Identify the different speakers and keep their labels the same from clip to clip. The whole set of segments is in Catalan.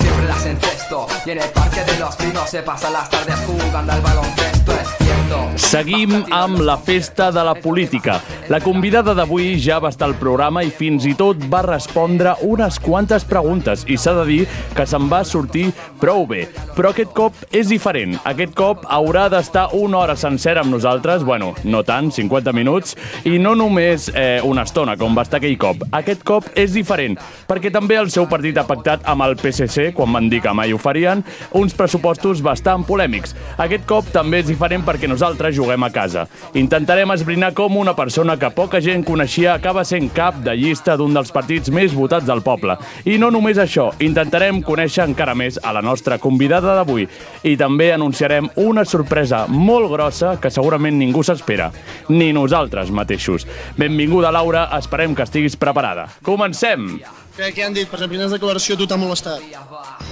Speaker 1: Siempre las encesto Y en el parque de los pinos se pasan las tardes jugando al baloncesto Es cierto
Speaker 2: Seguim amb la festa de la política. La convidada d'avui ja va estar al programa i fins i tot va respondre unes quantes preguntes i s'ha de dir que se'n va sortir prou bé. Però aquest cop és diferent. Aquest cop haurà d'estar una hora sencera amb nosaltres, bueno, no tant, 50 minuts, i no només eh, una estona, com va estar aquell cop. Aquest cop és diferent, perquè també el seu partit ha pactat amb el PSC, quan van dir que mai ho farien, uns pressupostos bastant polèmics. Aquest cop també és diferent perquè nosaltres juguem a casa. Intentarem esbrinar com una persona que poca gent coneixia acaba sent cap de llista d'un dels partits més votats del poble. I no només això, intentarem conèixer encara més a la nostra convidada d'avui. I també anunciarem una sorpresa molt grossa que segurament ningú s'espera, ni nosaltres mateixos. Benvinguda, Laura, esperem que estiguis preparada. Comencem!
Speaker 3: Què, què han dit? Per exemple, quines declaració a tu t'ha molestat?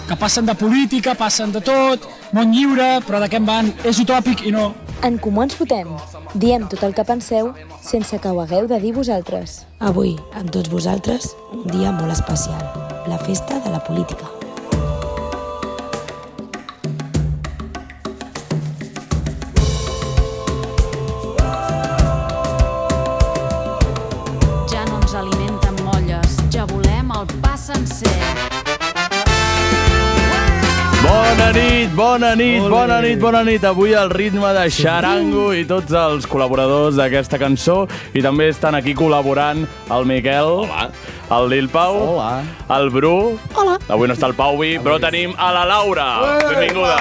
Speaker 4: que passen de política, passen de tot, món lliure, però de què en van? És utòpic i no.
Speaker 5: En Comú Ens Fotem. Diem tot el que penseu sense que ho hagueu de dir vosaltres.
Speaker 6: Avui, amb tots vosaltres, un dia molt especial. La festa de la política.
Speaker 7: Ja no ens alimenten molles, ja volem el pa sencer.
Speaker 2: Bona nit, bona nit, bona nit, bona nit. Avui al ritme de xarango i tots els col·laboradors d'aquesta cançó. I també estan aquí col·laborant el Miquel, Hola. el Lil Pau, Hola. el Bru. Hola. Avui no està el Pauvi, però tenim a la Laura. Benvinguda.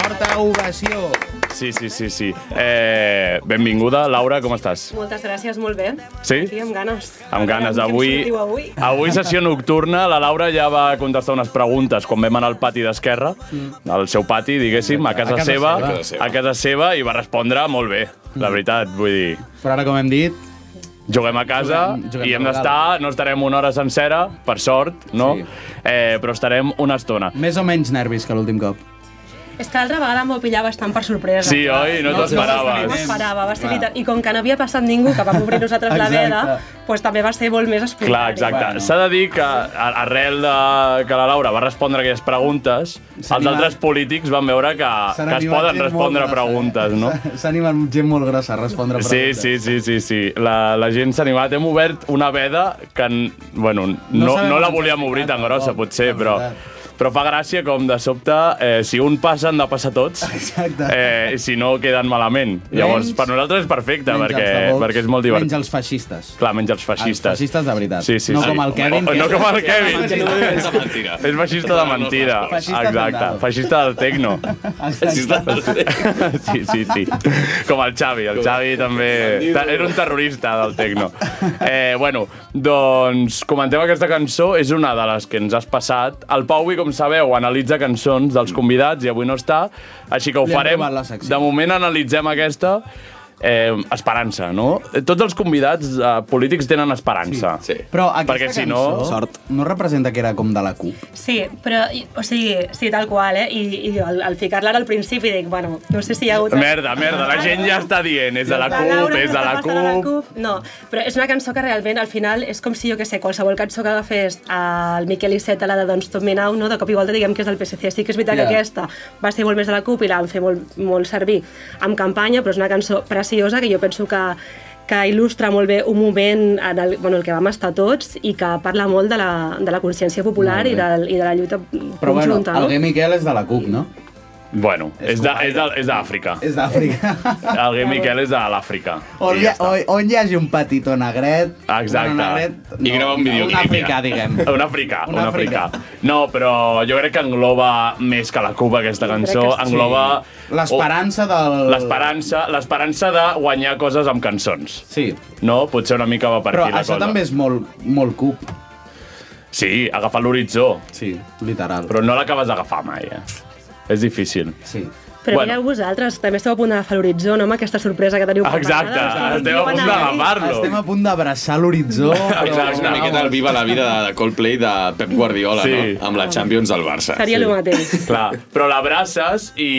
Speaker 8: Forta ovació.
Speaker 2: Sí, sí, sí. sí. Eh, benvinguda, Laura, com estàs?
Speaker 9: Moltes gràcies, molt bé.
Speaker 2: Sí?
Speaker 9: Sí, amb ganes.
Speaker 2: Amb ganes.
Speaker 9: Amb
Speaker 2: Avui,
Speaker 9: Què em sortiu avui?
Speaker 2: avui sessió nocturna, la Laura ja va contestar unes preguntes quan vam anar al pati d'Esquerra,
Speaker 9: Mm.
Speaker 2: al seu pati, diguéssim, a casa,
Speaker 8: A casa
Speaker 2: seva,
Speaker 8: seva.
Speaker 2: a casa seva, a casa seva, i va respondre molt bé, la veritat, vull dir...
Speaker 8: Però ara, com hem dit,
Speaker 2: Juguem a casa
Speaker 8: Juguem- juguem
Speaker 2: i hem
Speaker 8: a
Speaker 2: d'estar, no estarem una hora sencera, per sort, no?
Speaker 8: Sí.
Speaker 2: Eh, però estarem una estona.
Speaker 8: més o menys nervis que l'últim cop.
Speaker 9: És que l'altra vegada m'ho pillar bastant per sorpresa.
Speaker 2: Sí, oi? No t'ho
Speaker 9: No m'ho
Speaker 2: esperaves.
Speaker 9: esperava, va ser
Speaker 8: Clar.
Speaker 9: veritat. I com que no havia passat ningú que vam obrir nosaltres la
Speaker 8: Exacte.
Speaker 9: veda, doncs també va ser molt més espontani.
Speaker 2: Clar, exacte.
Speaker 8: Bueno.
Speaker 2: S'ha de dir que a- arrel de que la Laura va respondre aquelles preguntes, els
Speaker 8: S'animen.
Speaker 2: altres polítics van veure que,
Speaker 8: S'han
Speaker 2: que es
Speaker 8: animat
Speaker 2: poden
Speaker 8: gent
Speaker 2: respondre
Speaker 8: molt grossa,
Speaker 2: preguntes,
Speaker 8: eh?
Speaker 2: no?
Speaker 8: S'ha- S'ha animat gent molt grossa a respondre
Speaker 2: Sí,
Speaker 8: preguntes.
Speaker 2: sí, sí, sí, sí. La, la gent s'ha animat. Hem obert una veda que, n- bueno, no,
Speaker 8: sabem
Speaker 2: no la
Speaker 8: on
Speaker 2: volíem
Speaker 8: s'ha
Speaker 2: obrir tan
Speaker 8: ficat,
Speaker 2: grossa,
Speaker 8: tampoc,
Speaker 2: potser,
Speaker 8: la
Speaker 2: però,
Speaker 8: veritat.
Speaker 2: però fa gràcia com de sobte, eh, si un passa, han de passar tots.
Speaker 8: Exacte.
Speaker 2: Eh, i si no, queden malament. Llavors,
Speaker 8: Menys-
Speaker 2: per nosaltres és perfecte,
Speaker 8: Menys
Speaker 2: perquè,
Speaker 8: els de Vox,
Speaker 2: perquè és molt
Speaker 8: Menys
Speaker 2: divertit.
Speaker 8: els feixistes.
Speaker 2: Clar, menys els feixistes.
Speaker 8: Els feixistes de veritat.
Speaker 2: Sí, sí,
Speaker 8: no
Speaker 2: sí.
Speaker 8: com el Kevin.
Speaker 2: O,
Speaker 8: que-
Speaker 2: no com el Kevin.
Speaker 8: Que no
Speaker 2: és
Speaker 8: és-
Speaker 2: mentida. És feixista de mentida.
Speaker 8: Feixista
Speaker 2: Exacte.
Speaker 8: total.
Speaker 2: Feixista del tecno.
Speaker 8: Exacte.
Speaker 2: Sí, sí, sí. Com el Xavi. El Xavi també... ta- Era un terrorista del tecno. Eh, bueno, doncs comentem aquesta cançó. És una de les que ens has passat. El Pauvi, com sabeu, analitza cançons dels convidats i avui no està. Així que ho
Speaker 8: Li hem
Speaker 2: farem.
Speaker 8: robat la secció.
Speaker 2: De moment analitzem aquesta. Eh, esperança, no? Tots els convidats eh, polítics tenen esperança. Sí, sí.
Speaker 8: Però aquesta
Speaker 2: Perquè si no-
Speaker 8: cançó no representa que era com de la CUP.
Speaker 9: Sí, però, i- o sigui, sí, tal qual, eh? I, i al, al ficar-la ara al principi dic, bueno, no sé si hi ha hagut...
Speaker 2: Merda, merda, la gent ja està dient, és de la CUP,
Speaker 9: Laura
Speaker 2: és de la
Speaker 9: està passant a
Speaker 2: CUP...
Speaker 9: No, però és una cançó que realment al final és com si, jo que sé, qualsevol cançó que agafés el Miquel Iceta, la de Don't Stop Me Now, no? de cop i volta diguem que és del PSC. Sí que és veritat
Speaker 8: Ja.
Speaker 9: que aquesta va ser molt més de la CUP i la van fer molt, molt servir amb campanya, però és una cançó preciosa que jo penso que que il·lustra molt bé un moment en el, bueno, el que vam estar tots i que parla molt de la, de la consciència popular i de, i de la lluita
Speaker 8: Però bueno,
Speaker 9: conjunta.
Speaker 8: el Gay Miquel és de la CUP, no?
Speaker 2: Bueno, és de- és de- és d'Àfrica.
Speaker 8: És d'Àfrica.
Speaker 2: El Gui Miquel és de l'Àfrica.
Speaker 8: On,
Speaker 2: I
Speaker 8: hi,
Speaker 2: ja
Speaker 8: ha,
Speaker 2: està.
Speaker 8: on, on hi hagi un petitó negret...
Speaker 2: Exacte.
Speaker 8: Bueno, negret
Speaker 10: I grava un videoclip,
Speaker 8: Un africà,
Speaker 10: ja.
Speaker 8: diguem.
Speaker 2: Un africà, un
Speaker 8: Un
Speaker 2: africà.
Speaker 8: africà.
Speaker 2: No, però jo crec que engloba més que la CUP aquesta cançó,
Speaker 9: que sí.
Speaker 2: engloba...
Speaker 8: L'esperança del...
Speaker 2: Oh, L'esperança l'esperança de guanyar coses amb cançons.
Speaker 8: Sí.
Speaker 2: No? Potser una mica va per
Speaker 8: Però
Speaker 2: aquí la
Speaker 8: això
Speaker 2: cosa.
Speaker 8: també és molt, molt cup.
Speaker 2: Sí, agafar l'horitzó,
Speaker 8: Sí, literal.
Speaker 2: però no l'acabes d'agafar mai, eh? És difícil.
Speaker 8: Sí.
Speaker 9: Però bueno. mireu vosaltres, també esteu a punt d'agafar l'horitzó, no, amb aquesta sorpresa que teniu
Speaker 2: Exacte, estem a punt d'agafar-lo.
Speaker 8: Estem a punt d'abraçar l'horitzó. però-
Speaker 10: Exacte. Una miqueta el Viva la vida de Coldplay de Pep Guardiola,
Speaker 2: Sí.
Speaker 10: no? Amb la Champions del Barça.
Speaker 9: Seria el mateix.
Speaker 2: Clar, però l'abraces i,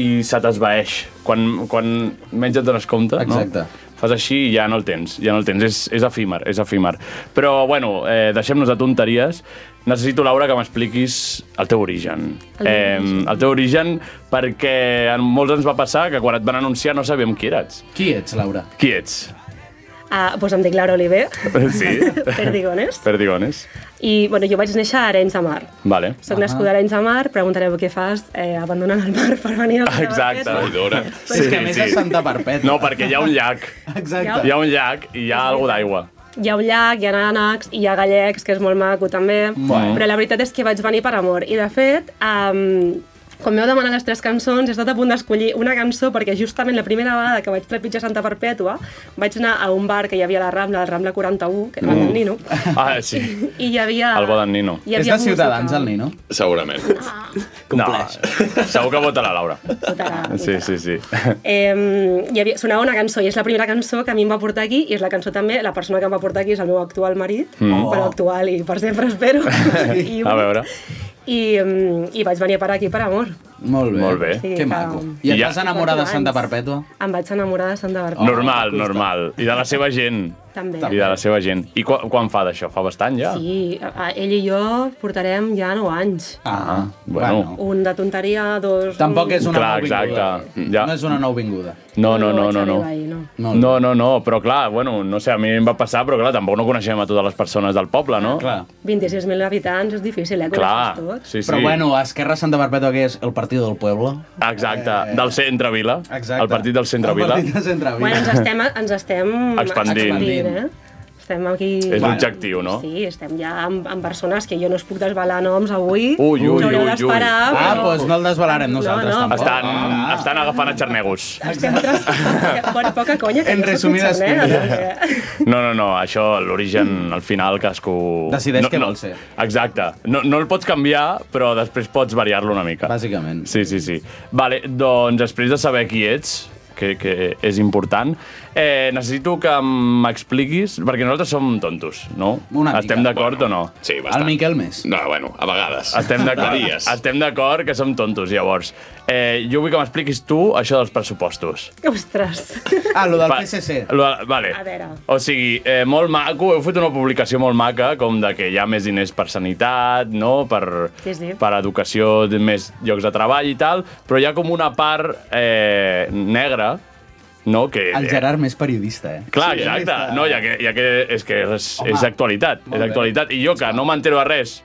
Speaker 2: i se t'esvaeix. Quan, quan menys et dones compte,
Speaker 8: Exacte.
Speaker 2: no? Fas així i ja no el tens, ja no el tens. És, és efímer, és efímer. Però, bueno, eh, deixem-nos de tonteries. Necessito, Laura, que m'expliquis el teu origen.
Speaker 9: El meu origen.
Speaker 2: el teu origen perquè en molts ens va passar que quan et van anunciar no sabíem qui eres.
Speaker 8: Qui ets, Laura?
Speaker 2: Qui ets?
Speaker 9: Ah, doncs em dic Laura Oliver,
Speaker 2: Sí.
Speaker 9: perdigones,
Speaker 2: Perdigones.
Speaker 9: i bueno, jo vaig néixer a Arenys de Mar.
Speaker 2: Vale.
Speaker 9: Soc nascuda a Arenys de Mar, preguntareu què fas eh, abandonant el mar per venir a
Speaker 2: Exacte.
Speaker 10: Traïdora.
Speaker 8: Sí, és que a més sí. és Santa Perpètua.
Speaker 2: No, perquè hi ha un llac.
Speaker 8: Exacte.
Speaker 2: Hi ha un llac i hi ha alguna d'aigua.
Speaker 9: Hi ha un llac, hi ha ànecs, hi ha gallecs, que és molt maco també,
Speaker 2: Bueno.
Speaker 9: però la veritat és que vaig venir per amor. I de fet, um, quan m'heu demanat les tres cançons, he estat a punt d'escollir una cançó perquè justament la primera vegada que vaig trepitjar Santa Perpètua vaig anar a un bar que hi havia a la Rambla, el Rambla 41, que era mm. el Nino,
Speaker 2: Ah, sí.
Speaker 9: i hi havia...
Speaker 2: El bo d'en Nino.
Speaker 9: hi
Speaker 8: És
Speaker 9: havia
Speaker 8: de Ciutadans,
Speaker 9: música.
Speaker 8: el Nino?
Speaker 10: Segurament.
Speaker 2: Compleix. No, segur que vota la Laura.
Speaker 9: Votarà,
Speaker 2: Sí, sí, sí.
Speaker 9: Eh, hi havia, sonava una cançó i és la primera cançó que a mi em va portar aquí i és la cançó també, la persona que em va portar aquí és el meu actual marit, mm. però actual i per sempre espero. I,
Speaker 2: Oh. A veure.
Speaker 9: I, mm, I vaig venir a parar aquí per amor.
Speaker 8: Molt bé.
Speaker 2: Molt bé.
Speaker 9: Sí,
Speaker 8: que
Speaker 9: que-
Speaker 8: maco. I et
Speaker 2: I ja-
Speaker 8: vas enamorar de Santa Perpètua?
Speaker 9: Em vaig enamorar de Santa
Speaker 2: Oh,
Speaker 9: Barbara.
Speaker 2: Normal, normal. I de la seva gent.
Speaker 9: També.
Speaker 2: I de la seva gent. I quan, quan fa d'això? Fa bastant, ja?
Speaker 9: Sí, a- a- ell i jo portarem ja 9 anys.
Speaker 8: Ah,
Speaker 2: bueno.
Speaker 9: Un de tonteria, dos...
Speaker 8: Tampoc és una
Speaker 2: Clar,
Speaker 8: nouvinguda.
Speaker 2: exacte. Ja.
Speaker 8: No és una nouvinguda.
Speaker 2: No, no, no,
Speaker 9: vaig
Speaker 2: no. no.
Speaker 9: arribar ahir, no.
Speaker 8: Molt
Speaker 2: No, no, no, però clar, bueno, no sé, a mi em va passar, però clar, tampoc no coneixem a totes les persones del poble, no?
Speaker 10: Ah,
Speaker 8: Clar.
Speaker 9: 26.000 habitants, és difícil, eh?
Speaker 2: Clar,
Speaker 9: Coneixes tots.
Speaker 2: sí, sí.
Speaker 8: Però bueno, Esquerra Santa Perpètua, que és el partit del poble.
Speaker 2: Exacte, del centre Vila.
Speaker 8: Exacte.
Speaker 2: El partit del centre
Speaker 8: El
Speaker 2: Vila.
Speaker 8: partit del centre Vila.
Speaker 9: Bueno, ens estem, ens estem
Speaker 2: Expandint.
Speaker 9: eh? Estem aquí...
Speaker 2: És l'objectiu, no?
Speaker 9: Sí, estem ja amb, amb persones que jo no us puc desvelar noms avui.
Speaker 2: Ui, ui,
Speaker 9: Us haureu
Speaker 2: ui, ui.
Speaker 9: d'esperar,
Speaker 8: Ah,
Speaker 9: però-
Speaker 8: doncs no el desvelarem nosaltres,
Speaker 9: no,
Speaker 8: tampoc.
Speaker 2: Estan, estan agafant a xarnegos.
Speaker 9: Estem tras... bueno, poca conya, que
Speaker 8: En
Speaker 9: jo soc
Speaker 8: resumides
Speaker 9: mitjana, eh?
Speaker 8: cuentas.
Speaker 9: Perquè-
Speaker 2: No, no, no, això, l'origen, al final, cadascú...
Speaker 8: Decideix
Speaker 2: no,
Speaker 8: què
Speaker 2: no,
Speaker 8: vol ser.
Speaker 2: Exacte. No, no el pots canviar, però després pots variar-lo una mica.
Speaker 8: Bàsicament.
Speaker 2: Sí, sí, sí. Vale, doncs després de saber qui ets, que, que és important, eh, necessito que m'expliquis, perquè nosaltres som tontos, no?
Speaker 8: Una mica.
Speaker 2: Estem d'acord o no?
Speaker 10: Sí,
Speaker 8: El
Speaker 10: bastant.
Speaker 8: Miquel més.
Speaker 10: No, bueno, a vegades.
Speaker 2: Estem
Speaker 10: A
Speaker 2: d'acord.
Speaker 10: dies.
Speaker 2: Estem d'acord que som tontos, llavors. Eh, jo vull que m'expliquis tu això dels pressupostos.
Speaker 9: Ostres.
Speaker 8: Ah, lo del
Speaker 2: Va-
Speaker 8: PSC.
Speaker 2: Lo, vale.
Speaker 9: A veure.
Speaker 2: O sigui, eh, molt maco, heu fet una publicació molt maca, com de que hi ha més diners per sanitat, no? per,
Speaker 9: Sí, sí.
Speaker 2: per educació, de- més llocs de treball i tal, però hi ha com una part eh, negra, no? Que, eh,
Speaker 8: El Gerard més periodista, eh?
Speaker 2: Clar,
Speaker 10: Sí,
Speaker 2: exacte.
Speaker 8: està.
Speaker 2: No, ja que, ja que és que és, és actualitat, és
Speaker 8: bé.
Speaker 2: actualitat. I jo, que no m'entero de res,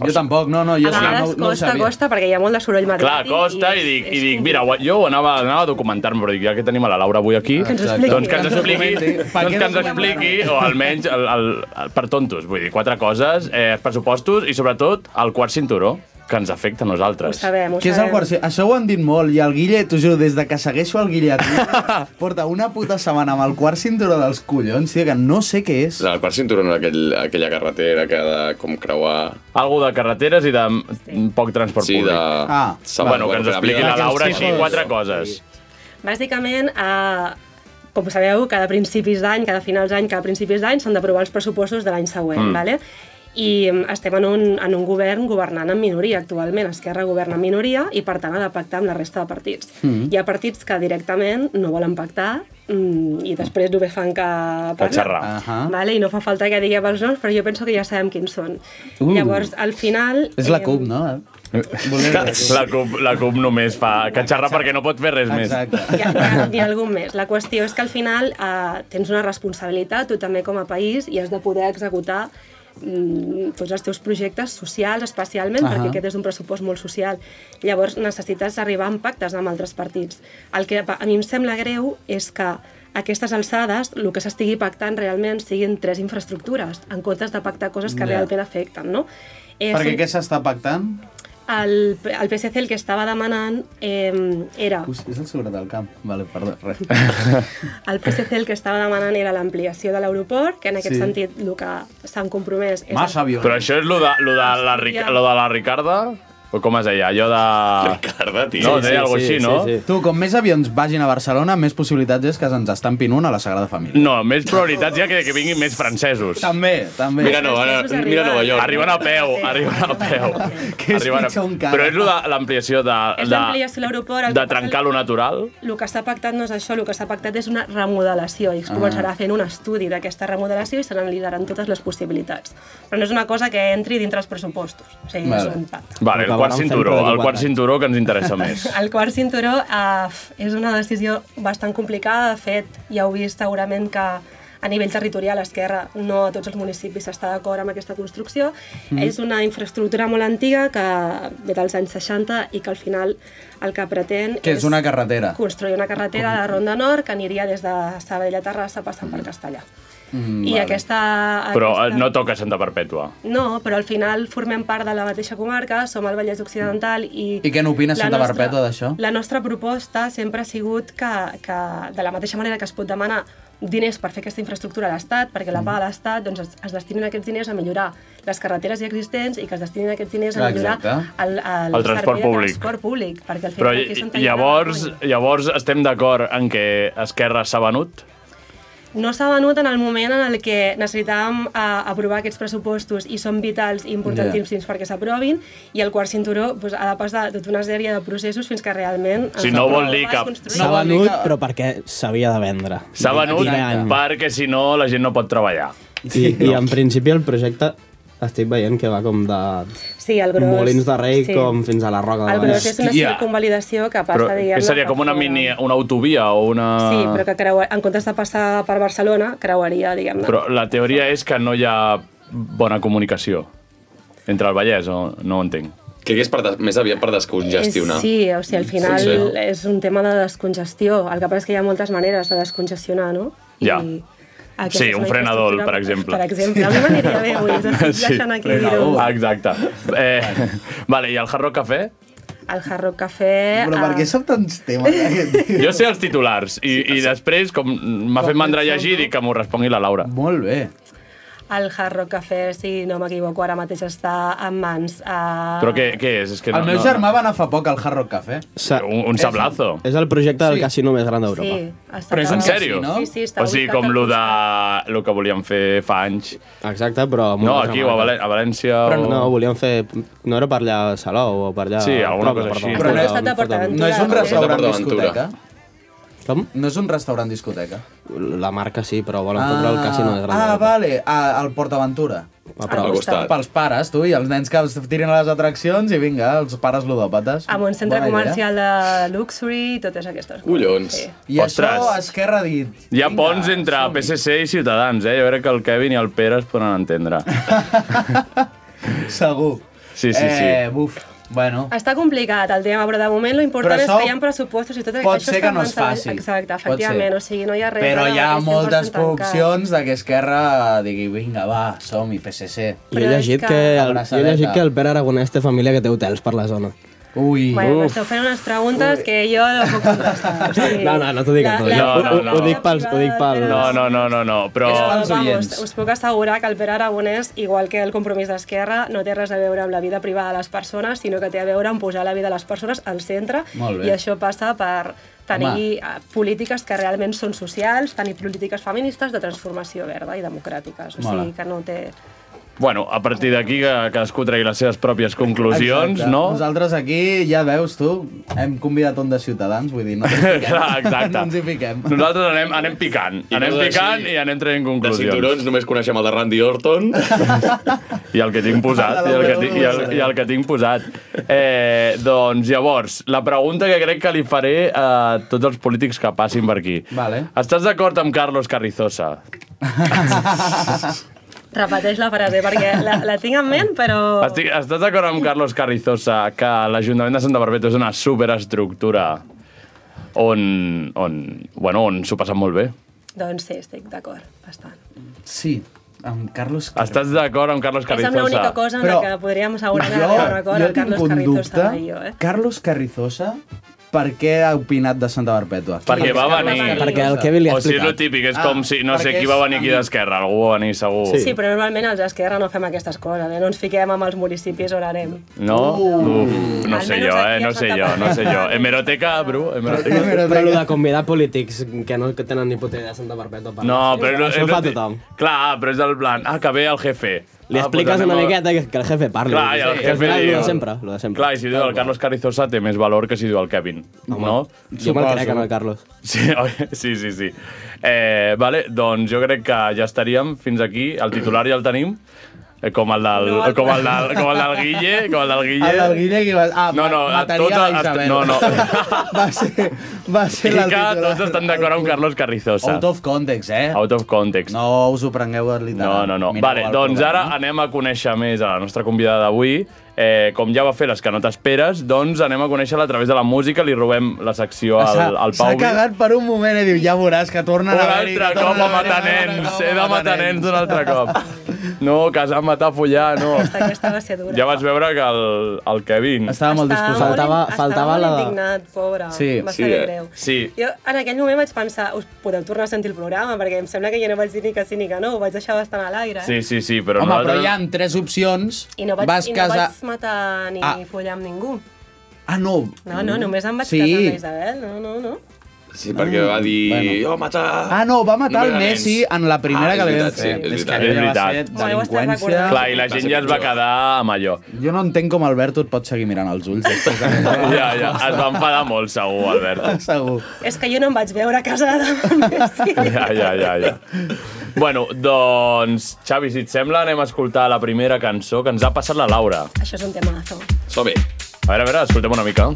Speaker 8: Jo tampoc, no, no, jo
Speaker 9: A
Speaker 8: sí, no,
Speaker 9: vegades
Speaker 8: no ho
Speaker 9: costa,
Speaker 8: sabia.
Speaker 9: costa, perquè hi ha molt de soroll
Speaker 2: clar,
Speaker 9: matemàtic.
Speaker 2: costa, i dic, i
Speaker 9: és
Speaker 2: dic mira, jo ho anava, anava a documentar-me, però dic, ja que tenim a la Laura avui aquí,
Speaker 9: Que ens ho
Speaker 8: Exacte.
Speaker 9: expliqui.
Speaker 2: Doncs que ens expliqui,
Speaker 8: documenti. Per
Speaker 2: doncs
Speaker 8: què
Speaker 2: que ens
Speaker 8: documentar?
Speaker 2: expliqui o almenys el, el, el, per tontos, vull dir, quatre coses, eh, els pressupostos i sobretot el quart cinturó, que ens afecta a
Speaker 9: Ho
Speaker 2: nosaltres.
Speaker 9: sabem, ho
Speaker 8: Què és el
Speaker 9: sabem.
Speaker 8: quart cinturó? Això ho han dit molt, i el Guille, t'ho juro, des de que segueixo el Guille a Twitter, porta una puta setmana amb el quart cinturó dels collons, tio, que no sé què és.
Speaker 10: El quart cinturó no era aquell, aquella carretera que ha de com creuar...
Speaker 2: Algo de carreteres i de mm, poc transport
Speaker 10: Sí, de...
Speaker 2: públic.
Speaker 8: Ah,
Speaker 2: Bueno, que ens expliqui la
Speaker 8: Perquè
Speaker 2: Laura
Speaker 8: els
Speaker 2: així
Speaker 8: tipus-
Speaker 2: quatre coses.
Speaker 9: Bàsicament, eh, com sabeu, cada principis d'any, cada finals d'any, cada principis d'any s'han d'aprovar els pressupostos de l'any següent, mm. vale? i mm, estem en un, en un govern governant en minoria actualment, Esquerra governa en minoria i per tant ha de pactar amb la resta de partits. Mm. Hi ha partits que directament no volen pactar mm, i després només fan que parlar.
Speaker 2: xerrar.
Speaker 10: Ah,
Speaker 8: Ahà.
Speaker 9: Vale? I no fa falta que digueu els noms, però jo penso que ja sabem quins són.
Speaker 8: Uh.
Speaker 9: Llavors, al final... eh,
Speaker 8: És la
Speaker 9: em,
Speaker 8: CUP, no? Volem la CUP.
Speaker 2: La CUP, la CUP només fa catxarra perquè no pot fer res més.
Speaker 8: Exacte.
Speaker 9: hi ha, hi ha, hi ha algun més. La qüestió és que al final eh, tens una responsabilitat, tu també com a país, i has de poder executar mm, tots els teus projectes socials especialment, uh -huh.
Speaker 8: Ahà.
Speaker 9: perquè aquest és un pressupost molt social. Llavors necessites arribar a pactes amb altres partits. El que a mi em sembla greu és que a aquestes alçades el que s'estigui pactant realment siguin tres infraestructures, en comptes de pactar coses que
Speaker 8: Ja.
Speaker 9: yeah. realment afecten, no? Eh,
Speaker 8: Perquè
Speaker 9: són-
Speaker 8: què s'està pactant?
Speaker 9: el, el PSC el que estava demanant eh, era...
Speaker 8: Us, és el seguretat del camp. Vale, perdó, res.
Speaker 9: El PSC el que estava demanant era l'ampliació de l'aeroport, que en aquest
Speaker 8: Sí.
Speaker 9: sí. sentit el que s'han compromès és...
Speaker 8: Massa avió.
Speaker 2: Però això és lo de, lo de, la, Ric- lo de la Ricarda? O com es deia, allò de... Ricarda,
Speaker 10: tio.
Speaker 2: No,
Speaker 10: Sí,
Speaker 2: deia
Speaker 10: sí,
Speaker 2: alguna
Speaker 10: sí,
Speaker 2: així, no?
Speaker 10: sí,
Speaker 8: Tu, com més avions vagin a Barcelona, més possibilitats és que se'ns estampin un a la Sagrada Família.
Speaker 2: No, més prioritats ja que, que vinguin més francesos.
Speaker 8: També, també.
Speaker 2: Mira Nova, mira Nova York. Arriben a peu, arriben a peu.
Speaker 8: Que és
Speaker 2: Arriben a-
Speaker 8: pitjor encara.
Speaker 2: Però és lo de l'ampliació de, de,
Speaker 9: És l'ampliació de l'aeroport. el
Speaker 2: de
Speaker 9: que-
Speaker 2: trencar lo natural.
Speaker 9: El que s'ha pactat no és això, el que s'ha pactat és una remodelació i es
Speaker 2: Ah.
Speaker 9: començarà fent un estudi d'aquesta remodelació i s'analitzaran totes les possibilitats. Però no és una cosa que entri dintre els pressupostos. O sigui, vale. és un pacte.
Speaker 2: Vale,
Speaker 11: Acabaran
Speaker 2: el quart
Speaker 11: fent
Speaker 2: cinturó,
Speaker 11: roda
Speaker 2: el quart
Speaker 11: d'igualtat.
Speaker 2: cinturó que ens interessa més.
Speaker 9: El quart cinturó eh, f- és una decisió bastant complicada. De fet, ja heu vist segurament que a nivell territorial Esquerra no a tots els municipis està d'acord amb aquesta construcció.
Speaker 12: Mm.
Speaker 8: Mm-hmm.
Speaker 9: Mm. És una infraestructura molt antiga que ve dels anys 60 i que al final el que pretén
Speaker 8: Que és una carretera.
Speaker 9: construir una carretera de la Ronda Nord que aniria des de Sabadell a Terrassa passant
Speaker 8: Mm-hmm.
Speaker 9: per Castellà.
Speaker 2: Mm,
Speaker 9: I aquesta...
Speaker 2: Però eh,
Speaker 9: aquesta...
Speaker 2: no toca Santa Perpètua.
Speaker 9: No, però al final formem part de la mateixa comarca, som al Vallès Occidental i...
Speaker 8: I què n'opina
Speaker 9: la
Speaker 8: Santa
Speaker 9: nostra-
Speaker 8: Barpeta d'això?
Speaker 9: La nostra proposta sempre ha sigut que, que de la mateixa manera que es pot demanar diners per fer aquesta infraestructura a l'Estat, perquè
Speaker 8: Mm.
Speaker 9: la paga l'Estat, doncs es, es destinin aquests diners a millorar les carreteres ja existents i que es destinin aquests diners a
Speaker 2: Clar,
Speaker 9: millorar
Speaker 2: exacte.
Speaker 9: el, el,
Speaker 2: El transport
Speaker 9: servei de
Speaker 2: públic.
Speaker 9: transport públic. Perquè al
Speaker 2: Però
Speaker 9: final aquí
Speaker 2: ll-
Speaker 9: són tallant
Speaker 2: llavors, llavors estem d'acord en què Esquerra s'ha venut?
Speaker 9: no s'ha venut en el moment en el que necessitàvem eh, aprovar aquests pressupostos i són vitals i importantíssims perquè s'aprovin i el quart cinturó doncs, ha de passar tota una sèrie de processos fins que realment... ens
Speaker 2: Si no
Speaker 9: aprovem.
Speaker 2: vol dir
Speaker 9: Es
Speaker 2: cap-
Speaker 9: construeix.
Speaker 13: S'ha venut, però perquè s'havia de vendre.
Speaker 2: S'ha venut
Speaker 13: I,
Speaker 2: perquè, si no, la gent no pot treballar.
Speaker 13: i, i en principi el projecte estic veient que va com de
Speaker 9: Sí, el gros...
Speaker 13: molins de rei com fins a la roca de
Speaker 9: El gros és una
Speaker 2: Hòstia.
Speaker 9: circunvalidació que passa,
Speaker 2: Però
Speaker 9: diguem-ne...
Speaker 2: que seria com una
Speaker 9: per-
Speaker 2: mini, una autovia o una...
Speaker 9: Sí, però que creua... en comptes de passar per Barcelona, creuaria, diguem-ne.
Speaker 2: Però la teoria és que no hi ha bona comunicació entre el Vallès, o no ho entenc.
Speaker 10: Crec que és per des... més aviat per descongestionar.
Speaker 9: És- Sí, o sigui, al final
Speaker 10: Sí, sí.
Speaker 9: és un tema de descongestió. El que passa és que hi ha moltes maneres de descongestionar, no?
Speaker 2: Ja.
Speaker 9: Aquesta
Speaker 2: Sí,
Speaker 9: és
Speaker 2: un
Speaker 9: una
Speaker 2: frenador,
Speaker 9: infraestructura-
Speaker 2: per exemple.
Speaker 9: Per exemple, a mi m'aniria bé avui, us estic deixant aquí dir-ho.
Speaker 2: Ah, Exacte. Eh, vale, i el Hard Rock Café?
Speaker 9: El Hard Rock Café...
Speaker 8: Però per
Speaker 9: ah,
Speaker 8: què són tants temes? eh?
Speaker 2: Jo sé els titulars i, i després, com m'ha fet mandra llegir, dic que m'ho respongui la Laura.
Speaker 8: Molt bé.
Speaker 9: El Hard Rock Café, si no m'equivoco, ara mateix està en mans... A...
Speaker 2: Però què, què és? és que
Speaker 8: El
Speaker 2: no,
Speaker 8: meu
Speaker 2: no.
Speaker 8: germà va anar fa poc al Hard Rock Café.
Speaker 2: Un, un sablazo.
Speaker 13: És el projecte del
Speaker 2: Sí.
Speaker 13: casino més gran d'Europa.
Speaker 9: Sí, està
Speaker 2: Però és en
Speaker 9: acabat.
Speaker 2: sèrio?
Speaker 9: Sí, sí, està
Speaker 2: o sigui,
Speaker 9: ubicat
Speaker 2: com
Speaker 9: al
Speaker 2: lo, de, lo que volíem fer fa anys.
Speaker 13: Exacte, però...
Speaker 2: No, aquí o a, Valen a València...
Speaker 13: Però
Speaker 2: o...
Speaker 13: no, volíem fer... No era per allà a Salou o per allà...
Speaker 2: Sí, alguna cosa així. Però no és-
Speaker 8: No és un restaurant discoteca?
Speaker 13: Com?
Speaker 8: No és un restaurant discoteca.
Speaker 13: La marca sí, però volen fotre el casino més gran
Speaker 8: ah,
Speaker 13: d'Europa.
Speaker 8: vale, a, al PortAventura.
Speaker 13: A prop. Al costat.
Speaker 8: Pels pares, tu, i els nens que els tiren a les atraccions i vinga, els pares ludòpates.
Speaker 9: Amb un centre
Speaker 8: Bona idea.
Speaker 9: comercial de luxury i totes aquestes coses. Sí.
Speaker 8: I
Speaker 2: Ostres.
Speaker 8: això Esquerra ha dit...
Speaker 2: Hi ha ponts entre PSC i Ciutadans, eh? Jo crec que el Kevin i el Pere es poden entendre.
Speaker 8: Segur.
Speaker 2: Sí, sí, sí.
Speaker 8: Eh, buf, bueno.
Speaker 9: Està complicat el tema, però de moment lo important
Speaker 8: Però
Speaker 9: és
Speaker 8: això
Speaker 9: que hi ha pressupostos i tot
Speaker 8: pot
Speaker 9: això
Speaker 8: ser
Speaker 9: està
Speaker 8: que no
Speaker 9: en
Speaker 8: es
Speaker 9: mans de-
Speaker 8: faci.
Speaker 9: Exacte,
Speaker 8: Pot ser.
Speaker 9: efectivament, o sigui, no hi ha res...
Speaker 8: Però
Speaker 9: ara
Speaker 8: hi ha
Speaker 9: mateix 100%
Speaker 8: moltes
Speaker 9: tancat.
Speaker 8: opcions de que Esquerra digui, vinga, va, som-hi, PSC.
Speaker 13: Jo he llegit que, el, jo he llegit que el Pere Aragonès té família que té hotels per la zona.
Speaker 8: Ui.
Speaker 9: Bueno, m'esteu fent unes preguntes que jo no puc contestar. o sigui,
Speaker 13: No, no, no t'ho dic.
Speaker 9: La-
Speaker 13: No,
Speaker 9: la-
Speaker 13: no, no, no. Ho, ho dic pels... Ho dic pels...
Speaker 2: No, no, no, no, no. Però...
Speaker 9: Però, vamos, us puc assegurar que el Pere Aragonès, igual que el compromís d'Esquerra, no té res a veure amb la vida privada de les persones, sinó que té a veure amb posar la vida de les persones al centre,
Speaker 7: Molt bé.
Speaker 9: i això passa per tenir eh, polítiques que realment són socials, tenir polítiques feministes de transformació verda i democràtiques. O
Speaker 2: Mola.
Speaker 9: sigui, que no té...
Speaker 2: Bueno, a partir d'aquí que cadascú tregui les seves pròpies conclusions,
Speaker 8: Exacte.
Speaker 2: no?
Speaker 8: Nosaltres aquí, ja veus tu, hem convidat un de Ciutadans, vull dir, no ens hi fiquem.
Speaker 2: Clar, exacte.
Speaker 8: No ens hi fiquem.
Speaker 2: Nosaltres anem, anem picant,
Speaker 10: I
Speaker 2: anem
Speaker 10: coses
Speaker 2: picant
Speaker 10: així.
Speaker 2: i anem traient
Speaker 10: De
Speaker 2: conclusions.
Speaker 10: cinturons només coneixem el de Randy Orton.
Speaker 2: I el que tinc posat, i el que tinc, i el, i el que tinc posat. Eh, doncs llavors, la pregunta que crec que li faré a tots els polítics que passin per aquí.
Speaker 8: Vale.
Speaker 2: Estàs d'acord amb Carlos Carrizosa?
Speaker 9: Repeteix la frase, perquè la, la tinc en ment,
Speaker 8: Oh.
Speaker 9: però...
Speaker 2: Estic, estàs d'acord amb Carlos Carrizosa que l'Ajuntament de Santa Barbeta és una superestructura on, on, bueno, on s'ho passen molt bé?
Speaker 9: Doncs sí, estic d'acord, bastant.
Speaker 8: Sí, amb Carlos Carrizosa.
Speaker 2: Estàs d'acord amb Carlos
Speaker 9: És
Speaker 2: Carrizosa?
Speaker 9: amb l'única cosa en la que podríem assegurar
Speaker 8: jo,
Speaker 9: una cosa,
Speaker 8: jo
Speaker 9: el
Speaker 8: tinc
Speaker 9: Carlos
Speaker 8: un
Speaker 9: Carrizosa
Speaker 8: dubte.
Speaker 9: i jo, eh?
Speaker 8: Carlos Carrizosa
Speaker 10: per què ha opinat de Santa Perpètua.
Speaker 2: Perquè va venir. o sigui, és el
Speaker 10: explicat.
Speaker 2: típic, és
Speaker 10: Ah,
Speaker 2: com si, no sé
Speaker 10: perquè
Speaker 2: qui
Speaker 10: és
Speaker 2: va venir aquí
Speaker 10: amic.
Speaker 2: d'esquerra, algú va venir segur.
Speaker 9: Sí. sí, però normalment els d'Esquerra no fem aquestes coses, eh? no ens fiquem amb els municipis on anem.
Speaker 2: No?
Speaker 9: Uh.
Speaker 2: Uf, no sé jo, eh? No sé jo, no sé jo. Hemeroteca, bro,
Speaker 14: Però,
Speaker 2: hemeroteca.
Speaker 14: però el de convidar polítics que no que tenen ni puta idea de Santa Perpètua. per
Speaker 2: No,
Speaker 14: anar.
Speaker 2: però...
Speaker 14: Això ho fa
Speaker 2: no té-
Speaker 14: tothom.
Speaker 2: Clar, però és el plan. Ah, que ve el jefe.
Speaker 14: Li
Speaker 2: ah,
Speaker 14: expliques
Speaker 2: doncs
Speaker 14: una
Speaker 2: anem a-
Speaker 14: miqueta que, que el jefe parli.
Speaker 2: Clar, i
Speaker 14: Que
Speaker 2: el
Speaker 14: al
Speaker 2: jefe
Speaker 14: final
Speaker 2: li
Speaker 14: lo
Speaker 2: diu...
Speaker 14: de sempre. Lo de sempre.
Speaker 2: Clar, i si diu el Carlos Carrizosa té més valor que si diu el Kevin, no?
Speaker 14: Jo me'l crec en el Carlos.
Speaker 2: Sí, oi? sí, sí. sí. Eh, vale, doncs jo crec que ja estaríem fins aquí. El titular ja el tenim. Eh, Com el, del,
Speaker 10: No, el-
Speaker 2: com, el del, com el del Guille, com el del Guille.
Speaker 10: El del Guille que va... Ah,
Speaker 2: No, no,
Speaker 10: mataria
Speaker 2: tots
Speaker 10: la
Speaker 2: els-
Speaker 10: Isabel.
Speaker 2: no, no.
Speaker 10: va ser, va ser la
Speaker 2: I que tots estan d'acord amb Carlos Carrizosa.
Speaker 10: Out of context, eh?
Speaker 2: Out of context.
Speaker 10: No us ho prengueu literal.
Speaker 2: No, no, no.
Speaker 10: Mireu
Speaker 2: Vale,
Speaker 10: el
Speaker 2: doncs
Speaker 10: programa.
Speaker 2: ara anem a conèixer més a la nostra convidada d'avui. Eh, com ja va fer les que no t'esperes, doncs anem a conèixer-la a través de la música. Li robem la secció al,
Speaker 10: S'ha-
Speaker 2: al
Speaker 10: S'ha
Speaker 2: Pau. Vila.
Speaker 10: cagat per un moment i diu, ja veuràs que tornen
Speaker 2: Un
Speaker 10: a haver-hi...
Speaker 2: altre
Speaker 10: tornen
Speaker 2: cop a
Speaker 10: a haver-hi".
Speaker 2: matar nens. He de matar nens un altre cop. No, casar, matar, follar, no.
Speaker 9: Aquesta va ser dura.
Speaker 2: Ja vaig veure que el, el Kevin...
Speaker 10: Estava molt
Speaker 9: Estava
Speaker 10: disposat.
Speaker 9: molt, estava molt indignat, pobre. va
Speaker 2: sí,
Speaker 9: saber
Speaker 2: eh?
Speaker 9: greu.
Speaker 2: sí.
Speaker 9: Jo en aquell moment vaig pensar, us podeu tornar a sentir el programa, perquè em sembla que jo no vaig dir ni que sí ni que no, ho vaig deixar bastant a l'aire. eh?"
Speaker 2: Sí, sí, sí, però
Speaker 10: Home,
Speaker 2: nosaltres...
Speaker 10: però hi ha tres opcions.
Speaker 9: I no vaig,
Speaker 10: vas
Speaker 9: i no
Speaker 10: casar...
Speaker 9: vaig matar ni
Speaker 10: Ah.
Speaker 9: follar amb ningú.
Speaker 10: Ah, no.
Speaker 9: No, no, només em vaig
Speaker 10: sí.
Speaker 9: casar amb la Isabel, no, no, no.
Speaker 15: Sí, perquè va dir... Bueno. Jo matar...
Speaker 10: Ah, no, va matar
Speaker 15: Només
Speaker 10: el
Speaker 15: nens.
Speaker 10: Messi en la primera
Speaker 15: Ah,
Speaker 10: que
Speaker 15: és
Speaker 10: li vam
Speaker 15: veritat,
Speaker 10: fer.
Speaker 15: sí, és
Speaker 10: que
Speaker 15: veritat.
Speaker 10: aquella
Speaker 2: És veritat.
Speaker 10: va ser
Speaker 9: Home, ho estàs
Speaker 10: delinqüència.
Speaker 9: recordant.
Speaker 2: Clar, i la gent ja es va quedar amb allò.
Speaker 10: Jo no entenc com Alberto et pot seguir mirant els ulls. després eh? de-
Speaker 2: Ja, ja, es va enfadar molt, segur, Albert.
Speaker 10: Segur.
Speaker 9: És que jo no em vaig veure casada amb el Messi.
Speaker 2: Ja, ja, ja, ja. Bueno, doncs, Xavi, si et sembla, anem a escoltar la primera cançó que ens ha passat la Laura.
Speaker 9: Això és un temazo.
Speaker 2: Som-hi. A veure, a veure, escoltem una mica.